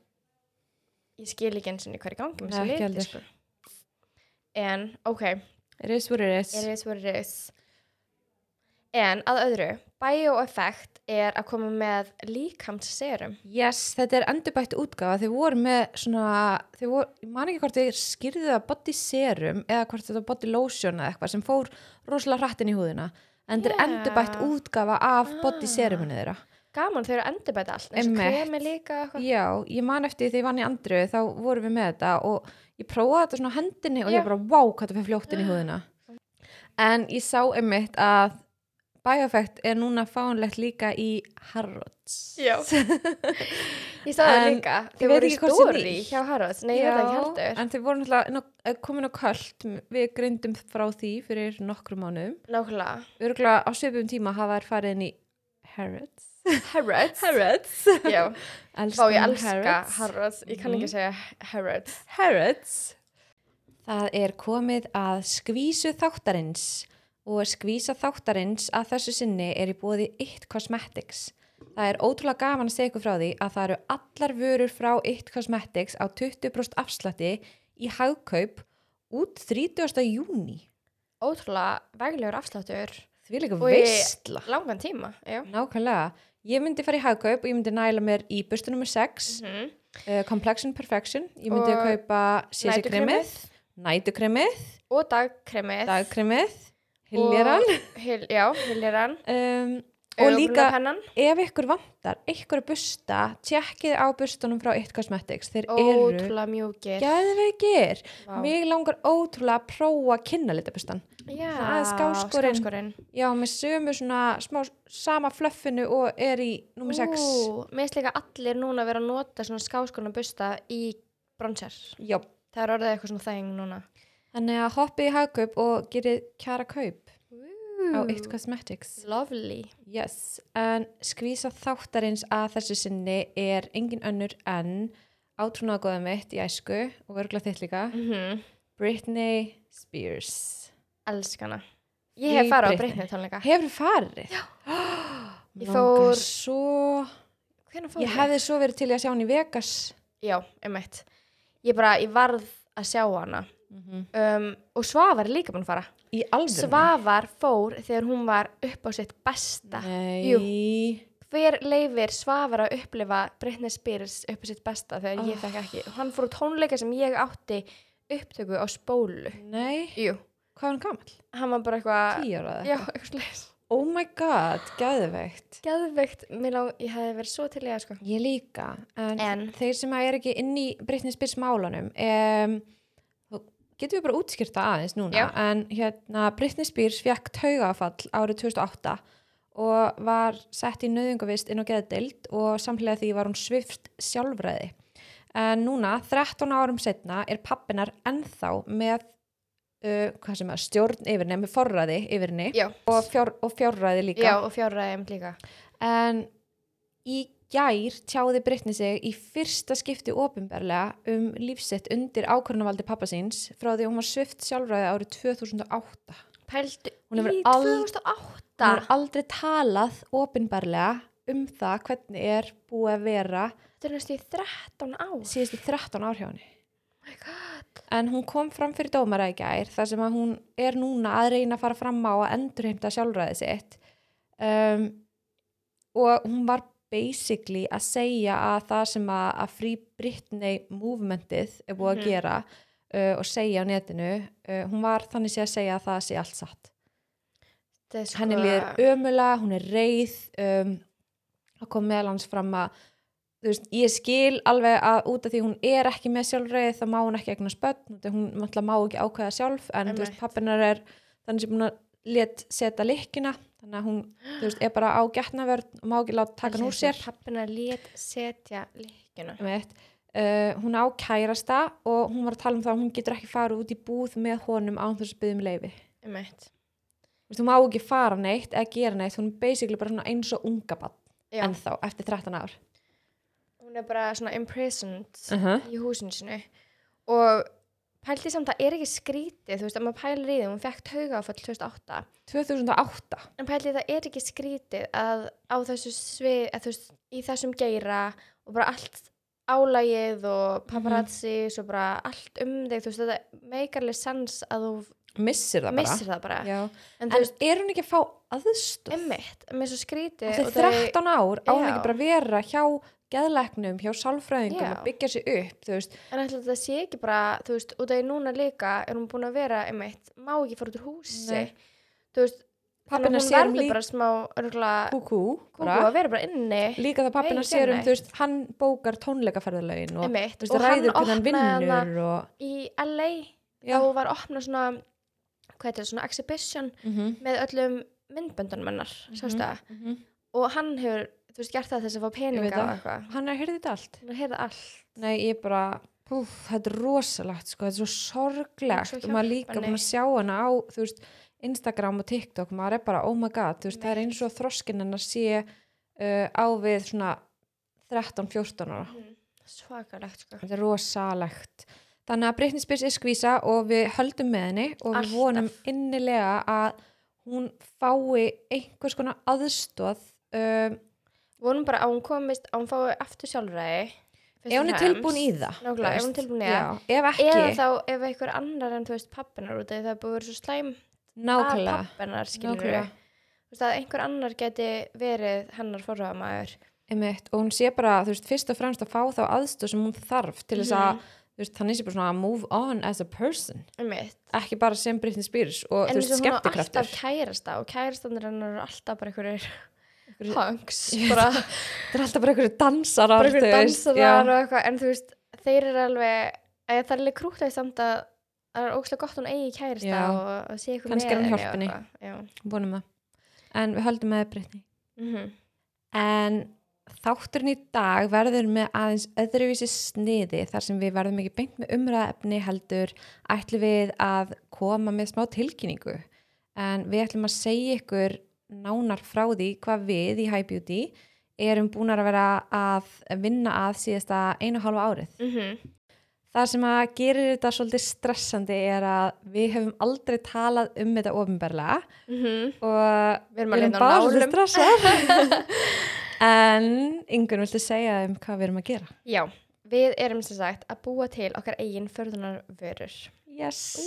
ég skil ekki eins og hvað er í gangi með
Nei,
þessu
ekki
liti,
heldur.
sko. En, ok,
it is what it is
it is what it is. En, að öðru, bioeffekt er að koma með líkamsserum.
Yes, þetta er endurbætt útgáfa. Þeir voru með svona, þeir voru, ég man ekki hvort þeir skýrðu það body serum eða hvort þetta var body lotion eða eitthvað sem fór rosalega hratt inn í húðina. En þetta
Já.
er endurbætt útgáfa af body
Ah.
seruminu þeirra.
Gaman, þau eru endurbæta allt, eins og
Einmitt.
kremi líka, eitthvað.
Já, ég man eftir því þegar ég vann í andru þá vorum við með þetta og ég prófaði þetta svona á hendinni og
Já.
ég bara, vá, hvað þetta fyrir fljótt inn í húðina. En ég sá einmitt að Bioeffect er núna fánlegt líka í Harrods.
Já. Ég sá það
En
líka,
ég
þau
veit
voru í
ekki hvort sem
stóri
nýtt.
hjá Haralds, nei, ég veit það ekki heldur.
En þið voru náttúrulega inn á- eh, komin á kvöld, við greindum frá því fyrir nokkrum mánuðum.
Nákvæmlega.
Örgulega á svipum tíma hafa þær farið inn í Harrods.
Harrods.
Harrods?
Já, þá ég elska
Harrods. Mhm.
Harrods, ég kann ekki að segja Harrods.
Harrods. Það er komið að skvísu þáttarins og skvísa þáttarins að þessu sinni er í bóði It Cosmetics. Það er ótrúlega gaman að segja ykkur frá því að það eru allar vörur frá It Cosmetics á 20% afslætti í hagkaup út 30. júni.
ótrúlega veglegur afsláttur
Því líka
Og ég-
veistla.
langan tíma já.
Nákvæmlega. Ég myndi fara í hagkaup og ég myndi næla mér í bustu nr. 6,
Mhm.
uh, Complexion Perfection. Ég myndi
Og
kaupa CC-kremið, nætukremið,
og dagkremið
dagkremið, hiljaran
hil, já, hiljaran
um, og líka
pennan
ef ykkur vantar ykkur að busta, tjekkið á bustunum frá It Cosmetics, þeir eru
ótrúlega mjúkir
geðveikir
Vá.
mig langar ótrúlega að prófa að kynna litabustan
já,
það er skáskorinn. já, með sömu svona smá, sama flöffinu og er í nummer 6
Ú, mér finnst líka allir núna vera að nota svona skáskorinn busta í bronser
já,
það er orðið eitthvað svona þeng núna
þannig að hoppið í hagkaup og gerið kjara kaup á It Cosmetics
lovely
Yes, en skvísa þáttarins að þessu sinni er engin önnur en átrúnaðgóðum mitt í æsku og örgulega þitt líka,
mm
Britney Spears.
elskana ég
Í
hef farið á
Britney.
Britney tónleika
Hefur farið? Já.
Ég
Ég fór...
fór-
Svo...
Hvernig fór
Ég hefði svo verið til í að sjá hann í Vegas.
Já, einmitt. Ég bara, ég varð að sjá hana. Um, og Svavar er líka búin að fara.
Í alveg.
Svavar fór þegar hún var upp á sitt besta.
Nei.
Jú. Hver leifir Svavar að upplifa Britney Spears upp á sitt besta þegar ég
Ah.
fekk ekki. Hann fór á tónleika sem ég átti upptöku á spólu.
Nei.
Jú,
Hvað var hann gammal?
hann var bara eitthvað...
Tíu ára það.
Já, eitthvað slegis.
Oh my god, gæðveikt.
Geðveikt, mér lá, ég hefði verið svo til í það, sko.
Ég líka, en,
En?
þeir sem er ekki inn í Britney Spears málunum um, þá getum við bara útskýrta aðeins núna
Já.
en hérna Britney Spears fekk taugafall árið 2008 og var sett í nöðungavist inn á geðdeild og samhlega því var hún svift sjálfræði en núna 13 árum setna er pappinar ennþá með Uh, hvað sem að stjórn yfir henni, með forræði yfir henni
Já,
og, fjár, og fjárræði líka
já og fjárraðum líka.
En í gær tjáði Brittany sig í fyrsta skipti ofinberlega um lífsett undir ákvörðunavaldi pappa síns frá því að hún var svift sjálfræði árið 2008.
Pældu
Hún hefur
í
ald-
2008.
Hún er aldrei talað ofinberlega um það hvernig er búið að vera
Þetta er næstu í 13 ár.
síðustu 13 ár hjá henni.
Oh my god.
En hún kom fram fyrir dómara í gær þar sem að hún er núna að reyna að fara fram á að endurheimta sjálfræði sitt um, og hún var basically að segja að það sem að, að Free Britney movementið er búið
Mhm.
að gera uh, og segja á netinu, uh, hún var þannig sé að segja að það sé allt satt.
Þetta er sko...
Henni líður ömulega, hún er reið, um, það kom meðal hans fram að þú veist, ég skil alveg að út af því hún er ekki með sjálfræði þá má hún ekki eignast börn, því hún náttúrulega má ekki ákveða sjálf en þú veist,
Einmitt.
pappinar er þannig sem hún að let setja lykkina þannig að hún, þú veist, er bara á getnavörn og má ekki láta taka hann úr sér
Pappina lét setja líkina.
Einmitt. Uh, hún á kærasta og hún var að tala um það að hún getur ekki fara út í búð með honum án þess að byggja um leifi
Um eitt.
Þú veist, hún má ekki fara neitt eða gera neitt, hún er basically bara svona eins og unga bann
Já.
ennþá eftir 13 ár.
Hún er bara svona imprisoned
-huh.
í húsinu sinu. Og pældi samt að það er ekki skrítið, þú veist, að maður pælir í því, hún fekk taugafall 2008.
2008.
En pældi það er ekki skrítið að á þessu svið, að þú veist, í þessum geira og bara allt álægið
Mhm.
og paparazzi og bara allt um þig, þú veist, þetta meikarlega sans að þú
Missir það bara.
missir það bara.
Já.
En
En
þú veist,
er hún ekki að fá aðstof?
emmitt, mér er svo skrítið.
Eftir
og þau-
13 ár á hún
Já.
ekki bara að vera hjá geðleknum, hjá sálfræðingum
Já.
að byggja sig upp, þú veist.
En ætla þetta sé ekki bara, þú veist, út af því núna líka er hún búin að vera, einmitt, má ekki fara út úr húsi.
Nei.
Þú veist,
Pappina
hún
sér um
verður
líka
bara smá, örgulega,
kúkú,
kúku
bara.
að vera bara inni,
Líka það pappina
Nei,
sér um,
nei.
þú veist, hann bókar tónleikaferðalögin og,
einmitt.
þú veist, ræður hvernig hann
opnaði hana
vinnur og,
í LA,
já.
þá var opnað svona, hvað heitir það, svona exhibition
Mm -hmm.
með öllum myndböndunum hennar,
Mhm.
mm sástu það. Og hann hefur, þú veist, gert það til þess að fá peninga
það.
og eitthvað.
Hann er að heyrði þetta allt.
Hann er að heyra allt.
Nei, ég bara, púf, þetta er rosalegt, sko, þetta er svo sorglegt
Svo
og maður líka
hjálparleg.
búin að sjá hana á, þú veist, Instagram og TikTok, maður er bara, oh my god, þú veist, það er eins og þroskinn hennar sé uh, á við svona 13-14 ára.
Mm. Svakalegt, sko.
Þetta er rosalegt. Þannig að Britney Spears er skvísa og við höldum með henni og við
Alltaf.
vonum innilega að hún fái einhvers konar aðstóð um,
Vonum bara að hún komist, að hún fái aftur sjálfræði. fyrst
ef
og
hún er
fremst.
tilbúin í það. þú
Nákvæmlega, ef
veist.
hún er tilbúin í það.
Já, ef ekki,
eða þá ef einhver annar en þú veist pappinar út af því það er búið að vera svo slæm
nákvæmlega.
að pappinar skilur
nákvæmlega.
þú veist að einhver annar geti verið hennar forraðamæður
Einmitt, og hún sé bara, þú veist, fyrst og fremst að fá þá aðstöð sem hún þarf til þess
Mhm.
að, þú veist, þannig sé bara svona að move on as a person,
um mitt
ekki bara sem Britney Spears og,
en
þú
þess að
veist,
hún á alltaf
skemmtikraftur.
kærasta og kærastanir hennar eru alltaf bara einhverjir
Einhverjir-
hunks
Ég veit
bara,
Það er alltaf bara einhverju dansarar,
bara einhverjir
þú veist,
dansarar
já.
og eitthvað en þú veist þeir eru alveg eða það er alveg krútlega samt að það er ógslag gott að hún eigi kærasta
Já.
og, og sé eitthvað
Kannski er hún hjálpa henni.
henni
vonum það. En við höldum með Britney.
mm -hmm.
En þátturinn í dag verður með aðeins öðruvísi sniði þar sem við verðum ekki beint með umræðefni heldur ætlum við að koma með smá tilkynningu. En við ætlum að segja ykkur nánar frá því hvað við í High Beauty erum búin að vera að vinna að síðasta einu og halva árið.
Mm
Það sem að gerir þetta svolítið stressandi er að við hefum aldrei talað um þetta ofinberlega og
mhm. Við erum að
við erum hérna
leita á
bara
nálum
svolítið stressað En, yngur, viltu segja um hvað við erum að gera?
Já, við erum sem sagt að búa til okkar eigin förðunarvörur.
Yes!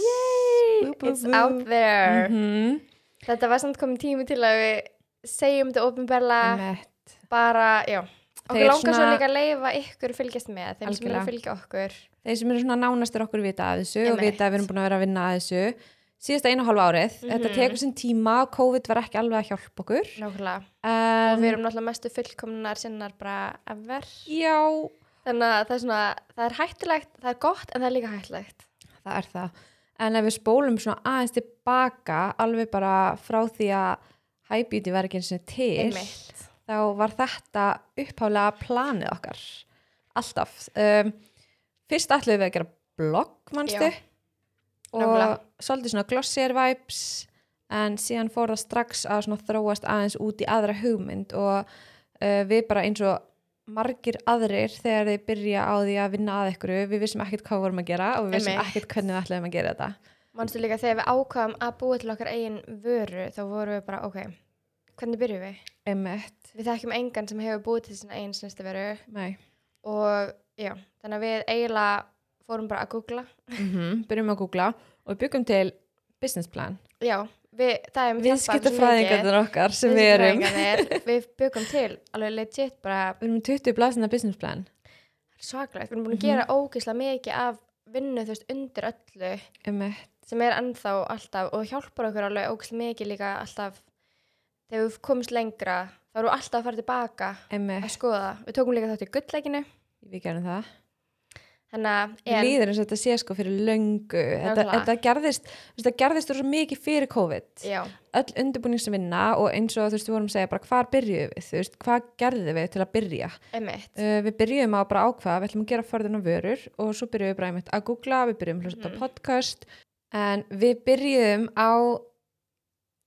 Bú, bú,
It's
bú.
out there.
Mhm.
Þetta var samt komin tími til að við segjum þetta ofinberlega,
Einmitt.
bara, já. Okkur
Þeir
langar svo
svona-
líka að leifa ykkur að fylgjast með, þeim sem eru
Algjörlega.
að fylgja okkur.
Þeir sem eru svona nánastir okkur vita að þessu og
Einmitt.
vita að við erum búin að vera að vinna að þessu síðasta einu og hálfa árið. Þetta
Mhm.
tekur sinn tíma og COVID var ekki alveg að hjálpa okkur.
Nákvæmlega. og
En,
við erum náttúrulega mestu fullkomnar sinnar bara ever.
Já,
Þannig að það er svona, það er hættulegt, það er gott en það er líka hættulegt.
það er það. En ef við spólum svona aðeins tilbaka alveg bara frá því að High Beauty var ekki eins og til
Einmitt.
þá var þetta upphálega planið okkar. Alltaf. Um, fyrst ætlum við að gera blogg, mannstu?
Já.
og
Nákvæmlega.
svolítið svona glossier vibes en síðan fór það strax að svona þróast aðeins út í aðra hugmynd og uh, við bara eins og margir aðrir þegar þeir byrja á því að vinna að ykkur við vissum ekkert hvað við vorum að gera og við vissum
Einmitt.
ekkert hvernig við ætlum að gera þetta
Manstu líka þegar við ákvaðum að búa til okkar eigin vöru, þá vorum við bara, ok, hvernig byrjum við?
emmett,
Við þekkjum engan sem hefur búið til sinna eigin snista veru
nei
og já, þannig að við eiginlega fórum bara að googla.
mm byrjum að googla og við byggum til business plan
Já, við, það er
viðskiptafræðingarnir okkar sem við erum
Viðskiptafræðingarnir, við byggum til alveg legit bara
við erum með 20 blasina business plan
svakalegt, við erum búin að
Mhm.
gera ógeðslega mikið af vinnu þú veist undir öllu
emmett,
sem er ennþá alltaf og hjálpar okkur alveg ógeðslega mikið líka alltaf þegar við komumst lengra þá erum við alltaf að fara tilbaka að
emmett,
skoða, við tókum líka þátt í gullleikinu
við gerum það
þannig að
Mér
en,
líður eins og þetta sé sko fyrir löngu þetta,
Nákvæmlega.
þetta gerðist, þú veist, það gerðist svo mikið fyrir COVID,
já,
öll undirbúningsvinna og eins og þú veist, við vorum að segja bara hvar byrjuðum við, þú veist, hvað gerðum við til að byrja
emitt
uh, við byrjuðum á bara ákvaða, við ætlum að gera forðun og vörur og svo byrjuðum við bara einmitt að googla við byrjuðum að hlusta
Mhm.
á podcast en við byrjuðum á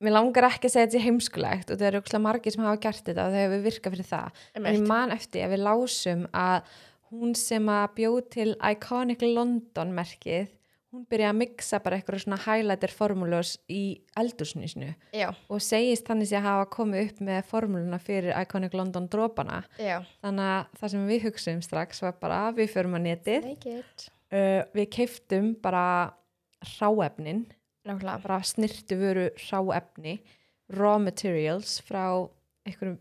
mér langar ekki að segja þetta sé heimskulegt og það eru ókslega margir sem hafa gert þetta og þau hefur virkað fyrir það En ég
emitt,
man eftir að við lásum að hún sem að bjóð til Iconic London merkið, hún byrjaði að mixa bara eitthvað svona highlighter formúlus í eldursnýsnu
já,
og segist þannig sé að hafa komið upp með formúluna fyrir Iconic London dropana.
já
Þannig að það sem við hugsaðum strax var bara að við förum að netið,
leikit,
uh, við keiftum bara ráefnin,
nákvæmlega
bara snirtu vöru ráefni, raw materials frá einhverjum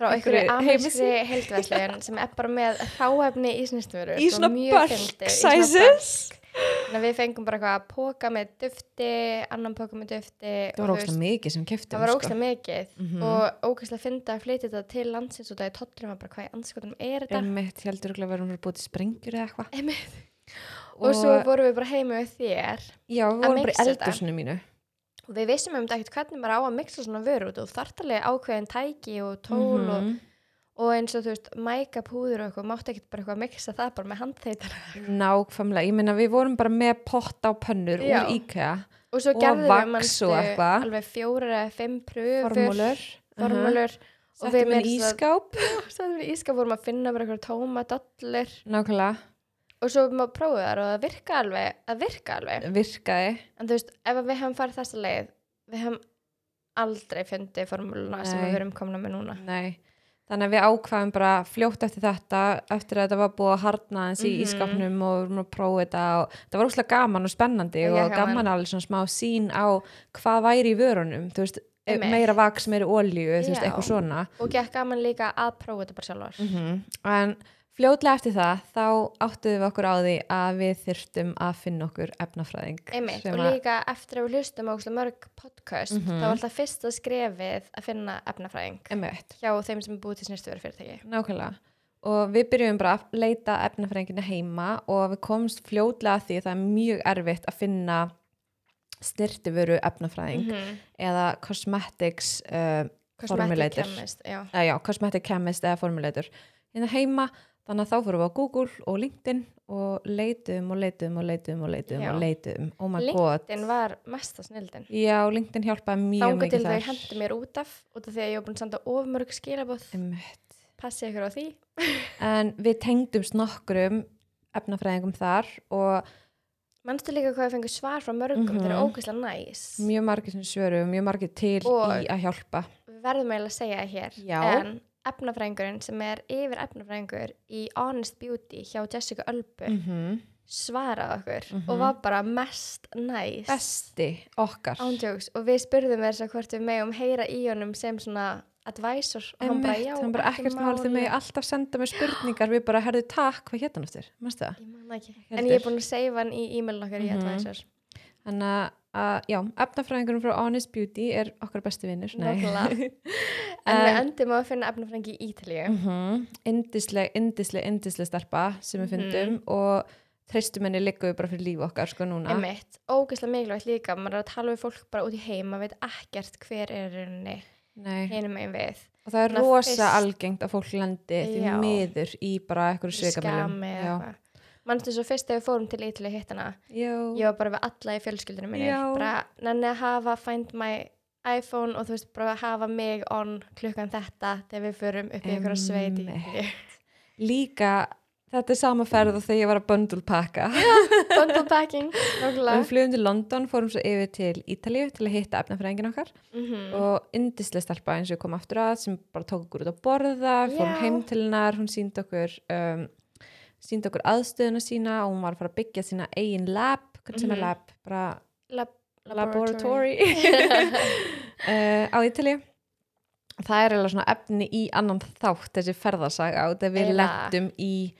frá einhverju
Einhverju
amerískri heildverslun sem er bara með ráefni í snýstumveru
í svona bulk sizes.
Þannig að við fengum bara eitthvað að póka með dufti, annan póka með dufti
Það
og
var
þú veist,
ógstlega mikið sem sko. keftum
það var ógæslega mikið
Mhm.
og ógæslega fyndi að flytja þetta til landsins og það er tollurinn var bara hvað í anskotum er þetta
Einmitt, ég heldur okkur að verðum að búið til sprengjur eða eitthvað
Einmitt.
og,
og svo vorum við bara heima við þér
já, við vorum bara í
mixa þetta.
eldursunum mínu
og við vissum um þetta ekkert hvernig maður á að mixa svona vöru út og þartalega ákveðin tæki og tól og,
Mhm.
og eins og þú veist mæka púður og eitthvað mátti ekkert bara eitthvað að mixa það bara með handþeitar
Mhm. nákvæmlega, ég meina við vorum bara með pott á pönnur
Já.
úr IKEA
og svo
Og
gerðum
vax
við
og
manstu,
eitthvað.
alveg fjórar eða fimm pröfur
formúlur, Mhm.
formúlur og við
settum
með
henni ískáp
Sæðum við íska vorum að finna bara eitthvað tóma dollur
nákvæmlega,
og svo maður prófið þar og það virka alveg, það virka alveg.
virkaði
En þú veist, ef að við hefum farið þessa leið, við hefum aldrei fundið formúluna sem
Nei.
við erum komna með núna.
Nei. þannig að við ákvaðum bara fljótt eftir þetta eftir að þetta var búið að harna eins í
Mhm.
ískapnum og við vorum að prófa þetta og það var óslega gaman og spennandi
Já,
og
gaman.
gaman alveg svona smá sín á hvað væri í vörunum, þú veist e-
Einmitt.
meira vaks, meira olíu, þú veist,
Já.
eitthvað svona
Og gekk gaman líka að prófa þetta bara sjálfar.
mm en fljótlega eftir það þá áttuðum við okkur á því að við þyrftum að finna okkur efnafræðing
Einmitt,
sem
og
að-
líka eftir að við hlustum á ógeðslega mörg podcast,
Mhm.
þá var alltaf fyrsta skrefið að finna efnafræðing
Einmitt,
hjá þeim sem er búið til snýrstuveru fyrirtæki.
nákvæmlega og við byrjum bara að leita efnafræðingina heima og við komst fljótlega að því að það er mjög erfitt að finna snirtiföru efnafræðing
Mhm.
eða cosmetics uh, Formulator.
Kosmetikemist, já.
eða já, cosmetic chemist eða formulator hérna heima, þannig að þá fórum við á Google og LinkedIn og leitum og leitum og leitum og leitum
Já.
og leitum oh my god
LinkedIn var mesta snildin.
Já, LinkedIn hjálpaði mjög
Þángu til
mikið
þau hendur mér út af, út af því að ég var búin að senda ofmörg skilabóð.
Einmitt.
Passið ykkur á því.
En við tengdumst nokkrum efnafræðingum þar og
Manstu líka hvað við fengum svar frá mörgum, mm
Mhm.
-hmm. þeir eru ógeðslega næs.
mjög margir sem svöru og mjög margir til
Og-
í að hjálpa.
Við verðum eiginlega að segja það hér.
Já.
En efnafræðingurinn sem er yfir efnafræðingur í Honest Beauty hjá Jessica Ölbu
-hmm.
svaraði okkur
Mhm.
og var bara mest næs
Besti okkar.
ándjóks og við spurðum þess að hvort við megum heyra í honum sem svona advisor og hann bara
Einmitt,
já,
hann bara
ekki
ekkert mál þau
máli."
megi alltaf senda mér spurningar við bara herðu takk, hvað hétt hann eftir, mannstu það?
Ég man það ekki.
Heldur.
En ég er búin að seifa hann í e-mailin okkar í
Mhm.
advisor.
Þannig að, að, já, efnafræðingurum frá Honest Beauty er okkar besti vinnur
Nákvæmlega. En við
Eh,
endum á að finna efnafræðingi í
mm,
Ítalíu.
Mhm. Indisleg, indisleg, indisleg starpa sem
Mhm.
við fundum og treystum henni liggum við bara fyrir líf okkar sko núna
Einmitt. Ógeðslega mikilvægt líka. Maður er að tala við fólk bara út í heim. Maður veit ekkert hver er henni
Nei.
hinum einn við.
og það er
Þannig að
rosa
hérna fyrst-
algengt að fólk lendi því
Já.
miður í bara eitthvað sveikamilum
Skami eða eitthvað. Manstu svo fyrst þegar við fórum til Ítalíu hitt hana. Ég var bara við alla í fjölskyldunum minni.
Já.
Bara nenni að hafa find my iPhone og þú veist bara að hafa mig on klukkan þetta þegar við förum upp í einhverja sveit í
Einmitt.
Ítalíu.
líka þetta er sama ferð og þegar ég var að böndulpakka
Bundle packing, nákvæmlega.
við flugum til London, fórum svo yfir til Ítalíu til að hitta efnafræðingin okkar
Mhm.
og indislega starpa eins og við komum aftur að sem bara tók okkur út að borða, við fórum
Já.
heim til hennar hún síndi okkur um, síndi okkur aðstöðuna sína og hún var að fara að byggja sína eigin lab, hvernig sem er
Mhm.
lab bara
Lab
laboratory uh, á Ítalíu það er eiginlega svona efni í annan þátt þessi ferðarsaga og þegar við
Eiginlega.
lettum í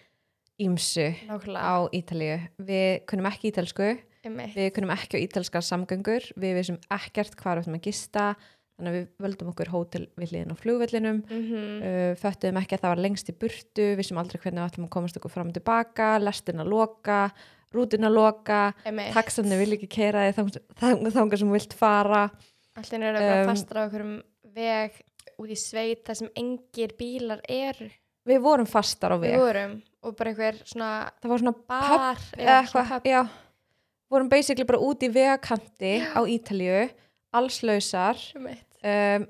ímsu
Nákvæmlega,
á Ítalíu við kunnum ekki ítalsku
einmitt.
Við kunnum ekki á ítalskar samgöngur, við vissum ekkert hvar við ættum að gista, þannig að við völdum okkur hótel við hliðin á flugvellinum,
Mhm.
uh, föttuðum ekki að það var lengst í burtu, vissum aldrei hvernig við ættum að komast okkur fram og tilbaka, lestin að loka, rútin að loka,
Einmitt.
taxarnir vil ekki keira þig þang- þang- þangað sem þú vilt fara.
Allt einu eru um, bara
Um,
fastar á okkur veg út í sveit þar sem engir bílar eru
Við vorum fastar á
við
veg.
vorum og bara einhver svona
Það var svona pub
bar
eða
eða svona pub.
eitthvað, já. Vorum basically bara út í vegakanti á Ítalju, allslausar.
Einmitt.
um,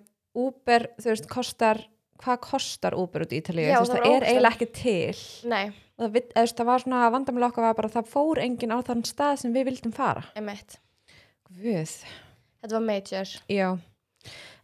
Uber, þú veist, kostar hvað kostar Uber út í Ítalíu
Já,
þú veist,
það
það,
var
er
ógeðslega.
eiginlega ekki til
Nei,
og það, við- þú veist, það var svona vandamil okkar var bara það fór enginn á þann stað sem við vildum fara
einmitt.
Guð,
Þetta var major
já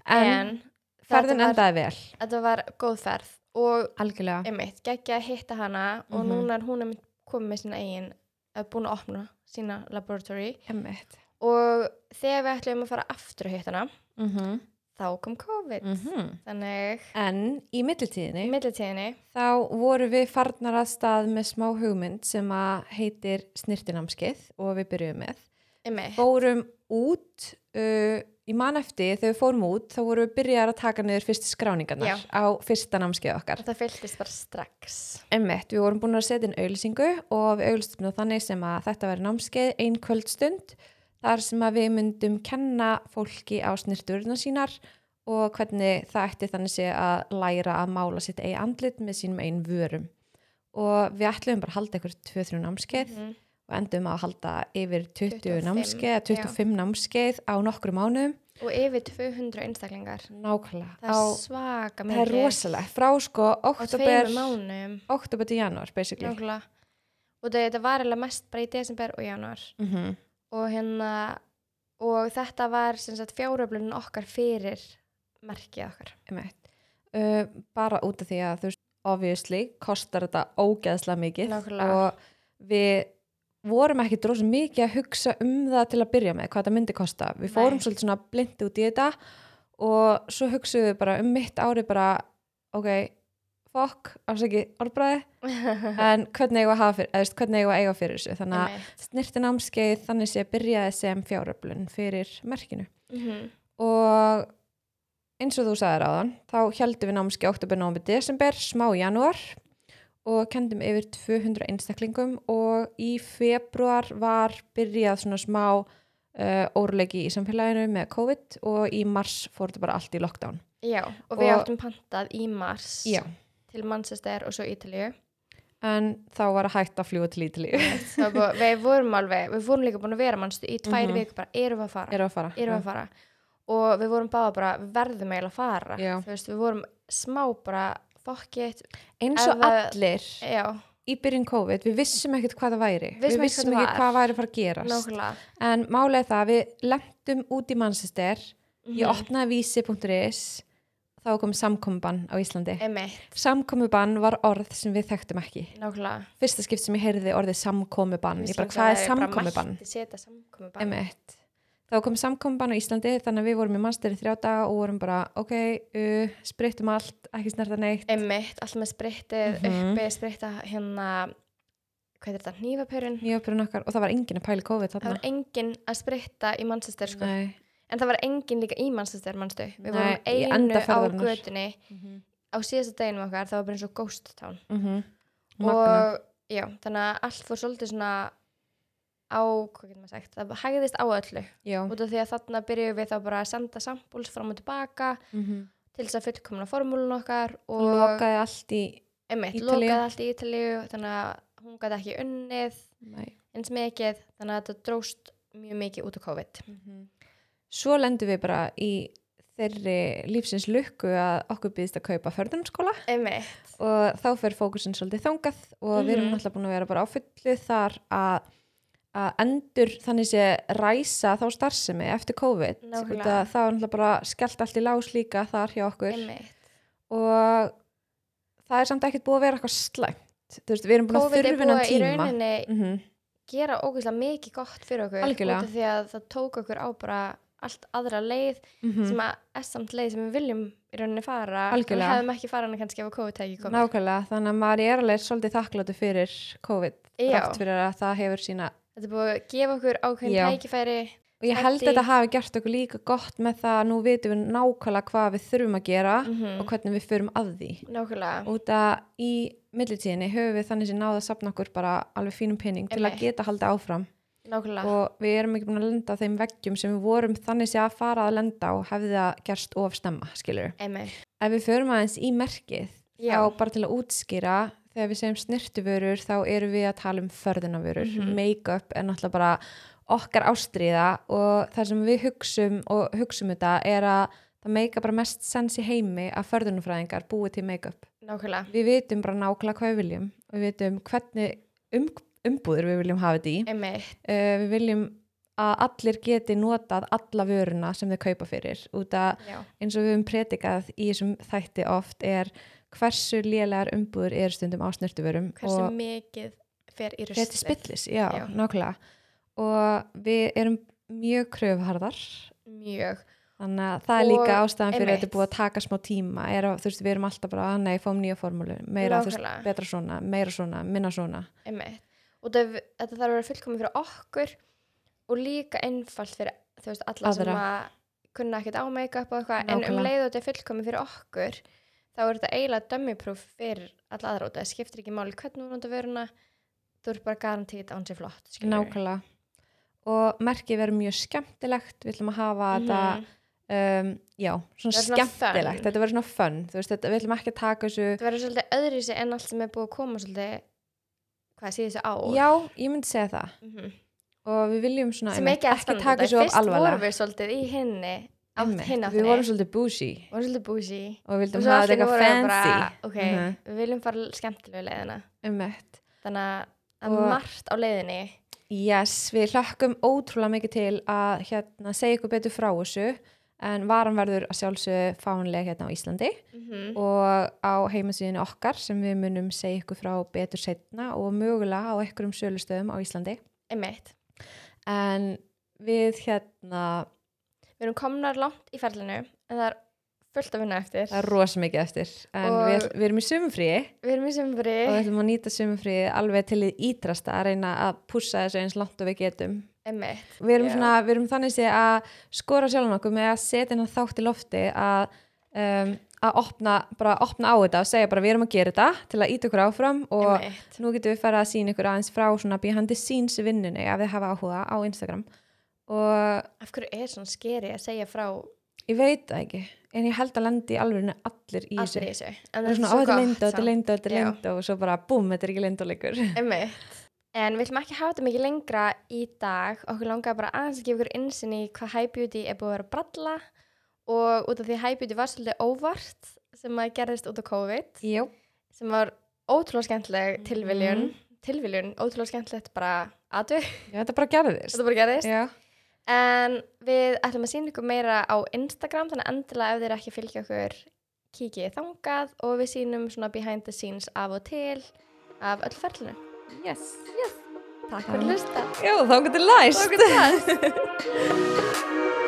en,
en,
þetta
ferðin
var-
endaði vel,
þetta var góð ferð og
algjörlega
einmitt, geggja að hitta hana og
Mhm.
núna er hún einmitt komið með sína eigin að búin að opna sína laboratory
Emmett
og þegar við ætlum að fara aftur að hitta hana
mm -hmm.
þá kom COVID
Mhm.
þannig
en í millitíðinni
í millitíðinni
þá voru við farnar að stað með smá hugmynd sem að heitir snirtinamskið og við byrjuðum með
einmitt,
fórum út uh, í mann eftir þegar við fórum út þá vorum við byrjar að taka niður fyrst skráningarnar
Já.
á fyrsta námskeið okkar.
þetta fylgist bara strax
Emmett, við vorum búin að setja inn auðlýsingu og við auðlýstum það þannig sem að þetta veri námskeið ein kvöldstund þar sem að við myndum kenna fólki á snirturna sínar og hvernig það ætti þannig sé að læra að mála sitt eigi andlit með sínum einn vörum. Og við ætlum bara að halda ykkur 2-3 námskeið
Mhm.
og endum á að halda yfir 20
25,
25, námskeið, 25 námskeið á nokkru mánuðum.
og yfir 200 einstaklingar
Nákvæmlega.
það
á,
er svaka
það er
mikið
rosalegt. Frá sko
og
oktober,
tveimur mánum
oktober til janúar, basically.
nákvæmlega og það, þetta var eiginlega mest bara í desember og januar
Mm -hmm.
og hérna og þetta var sem sagt fjáröflunin okkar fyrir merkið okkar
uh, bara út af því að þú veist, obviously, kostar þetta ógeðslega mikið.
Nákvæmlega.
Og við vorum ekki dróðs mikið að hugsa um það til að byrja með, hvað þetta myndi kosta. Við
Nei.
fórum svolítið svona blindi út í þetta og svo hugsuðum við bara um mitt ári bara, ok, fokk, afsaki orðbræði, en hvernig eigum við að hafa fyrir, eða, þú veist, hvernig eigum við að eiga fyrir þessu þannig að
Einmitt.
snirtinámskeið þannig sé byrjaði sem fjáröflun fyrir merkinu
Mhm.
og eins og þú sagðir áðan þá heldum við námskeið oktober, november, desember smá í janúar og kendum yfir 200 einstaklingum og í februar var byrjað svona smá uh, óruleiki í samfélaginu með COVID og í mars fór þetta bara allt í lockdown
já og við
Og-
áttum pantað í mars
Já.
til Manchester og svo Ítalíu
en þá var að hætta að fljúa til Ítalíu
Það var búið- við vorum alveg, við vorum líka búin að vera mannstu í tvær
Mhm.
vikur bara, erum við að fara
erum við að fara
erum við að fara og við vorum báða bara, við verðum eiginlega að fara
Já.
þú veist, við vorum smá bara fuck it,
eins
Ef
og
það-
allir
já,
í byrjun COVID, við vissum ekkert hvað það væri
Vissum
við
ekkert
vissum
hvað það var.
ekki hvað væri að fara að gerast
nákvæmlega
en málið er það, að við lentum út í Manchester
Mhm.
ég opnaði vísi.is þá kom samkomubann á Íslandi.
Emitt,
Samkomubann var orð sem við þekktum ekki.
nákvæmlega.
Fyrsta skipt sem ég heyrði orðið samkomubann, ég bara
Íslands-
hvað er
það bara
samkomubann?
Mætti setja samkomubann.
Emitt. Þá kom samkomubann á Íslandi þannig að við vorum í mannstæri þrjá daga og vorum bara ok, uh, sprittum allt, ekki snerta neitt.
Emitt, alltaf með spritið
Mhm.
uppi, spritta hérna, hvað er þetta, hnífapörun?
Nýjöpurinn okkar og það var enginn að pæla í COVID
Það
þarna.
var enginn að spritta í mannsastir sko.
Nei.
En það var enginn líka í mannsastir, mannstu. Við
Nei,
vorum
í
einu
enda
á
ferðarinnar.
götunni
Mm
á síðasta deginum okkar, það var bara eins og ghost town.
-hmm.
og já, þannig að allt fór svolítið svona á, hvað getur maður sagt, það hægðist á öllu
já.
út af því að þarna byrjuðum við þá bara að senda sampúls fram og tilbaka
Mm -hmm.
til þess að fullkomna formúlun okkar og
Lokaði allt í...
einmitt,
Ítalíu.
lokaði allt í Ítalíu þannig að hún gæti ekki unnið
Nei.
eins mikið, þannig að þetta dróst mjög mikið út af COVID
Svo lendum við bara í þeirri lífsins lukku að okkur býðist að kaupa förðunarskóla
einmitt,
og þá fer fókusin svolítið þangað og við erum
Mhm.
náttúrulega búin að vera bara á fullu þar að að endur þannig sé ræsa þá starfsemi eftir COVID
Nákvæmlega.
út að það var náttúrulega bara skellt allt í lás líka þar hjá okkur
einmitt
og það er samt ekkert búið að vera eitthvað slæmt þú veist, við erum búin að
COVID er búið
þurfina
að í
tíma
rauninni
mm -hmm.
gera ógeðslega mikið gott fyrir okkur
Algjörlega.
út af því að það tók okkur á bara allt aðra leið
Mhm. Mm.
sem að er samt leið sem við viljum í rauninni fara
Algjörlega.
og hefðum ekki fara hana kannski ef að COVID tæki komið
Nákvæmlega, þannig að maður er alveg svolítið þakkláttu fyrir COVID
Já.
þrátt fyrir að það hefur sína
þetta er búið að gefa okkur ákveðin
Já.
tækifæri
og ég held
Þætti.
að þetta hafi gert okkur líka gott með það að nú vitum við nákvæmlega hvað við þurfum að gera
Mhm.
og hvernig við förum að því
nákvæmlega,
út að í millitíðinni höfum við þannig sem náða að sapna okkur bara alveg fínum pening til að
Einmitt.
geta haldið áfram
nákvæmlega
og við erum ekki búin að lenda á þeim veggjum sem við vorum þannig sem að fara að lenda og hefði það gerst of stemma, skilur
einmitt,
ef við förum aðeins í merkið
já,
þá bara til að útskýra þegar við segjum snirtuvörur þá erum við að tala um förðunavörur
Mhm.
make-up er náttúrulega bara okkar ástríða og það sem við hugsum og hugsum þetta er að það make-up bara mest sens í heimi að förðunafræðingar búið til make-up
nákvæmlega
við vitum bara nákvæmlega hvað við viljum og við vitum hvernig um, umbúður við viljum hafa þetta í
einmitt,
uh, við viljum að allir geti notað alla vöruna sem þau kaupa fyrir út að
já,
eins og við höfum predikað í þessum þætti oft er hversu lélegar umbúður eru stundum á snurtuverum
hversu
og
mikið fer í
þetta er
ruslið
spillis, já,
Já.
nákvæmlega og við erum mjög kröfharðar
mjög,
þannig að það er
Og
líka ástæðan fyrir
einmitt.
að þetta er búið að taka smá tíma er að, þú veist, við erum alltaf bara að nei, fáum nýja formúlu, meira, þú veist,
Nákvæmlega.
betra svona meira svona, minna svona
einmitt og það, þetta þarf að vera fullkomið fyrir okkur og líka einfalt fyrir þú veist, alla sem
Aðra.
að kunna ekkert á make-up og eitthvað, en um
Nákvæmlega.
leið og þetta er fullkomið fyrir okkur þá er þetta eiginlega dömmiproof fyrir alla aðra út, það skiptir ekki máli hvernig hún ánda vöruna þú ert bara garantít án sér flott skilurðu.
nákvæmlega og merkið verður mjög skemmtilegt við ætlum að hafa
Mhm.
þetta um, já, svona
Það er svona
skemmtilegt
fun.
þetta verður svona fun, þú veist, þetta, við ætlum ekki að taka þessu
þetta verður svolítið öðrísi en allt sem er búið að koma svolítið hvað síðustu á
já, ég myndi segja það og við viljum svona
sem
einmitt
ekki að standa út
taka
af.
þessu of
fyrst vorum
alvarlega
við svolítið í henni átt
Einmitt,
hinn á
við vorum svolítið bougie
vorum svolítið búsi
og við
og
vildum
svo
hafa
allt
þetta
í einu
eitthvað
vorum við
fancy
bara, ok,
Mhm,
við viljum fara skemmtilegu leiðina
einmitt.
þannig að það
Og-
er margt á leiðinni
yes, við hlökkum ótrúlega mikið til að hérna, segja ykkur betur frá þessu en varan verður að sjálfsög fáanlega hérna á Íslandi
Mhm.
og á heimasíðinu okkar sem við munum segja ykkur frá betur setna og mögulega á einhverjum sölustöðum á Íslandi
einmitt,
en við hérna
við erum komnar langt í ferlinu en það er fullt að vinna eftir
það er rosa mikið eftir en
Og-
við, við erum í sumumfríi
við erum í sömbri
og við ætlum að nýta sumumfríið alveg til í ítrasta að reyna að pússa þessu eins langt og við getum
einmitt,
við erum,
Já.
svona, við erum þannig sé að skora sjálfan okkur með að setja hennar þátt í lofti að um, að opna, bara opna á þetta og segja bara við erum að gera þetta til að íta okkur áfram og
einmitt
nú getum við farið að sína ykkur aðeins frá svona behind the scenes vinnunni ef þið hafa áhuga á Instagram og
af hverju er svona skeri að segja frá
ég veit það ekki en ég held að lendi alveg allir í
allir
þessu
í þessu en
það er svona á
svo
þetta er
gott
lindó, þetta er
samt.
lindó, þetta er
Já.
lindó og svo bara búm, þetta er ekki lindoleikur
Einmitt. En við ætlum ekki að hafa þetta mikið lengra í dag. Okkur langaði bara aðeins að gefa ykkur innsinn í hvað High Beauty er búið að vera að bralla og út af því High Beauty var svolítið óvart sem að gerðist út af COVID
Jó,
sem var ótrúlega skemmtileg tilviljun.
Mhm.
Tilviljun, ótrúlega skemmtilegt bara aðu.
já þetta bara gerðist
Þetta bara gerðist.
Já,
En við ætlum að sína ykkur meira á Instagram þannig að endilega ef þeir ekki fylgja okkur kíkið þangað og við sýnum svona behind the scenes af og til af öll ferlinu.
Yes.
Takk fyrir að hlusta.
Já, þá getur læst.
Takk fyrir að hlusta.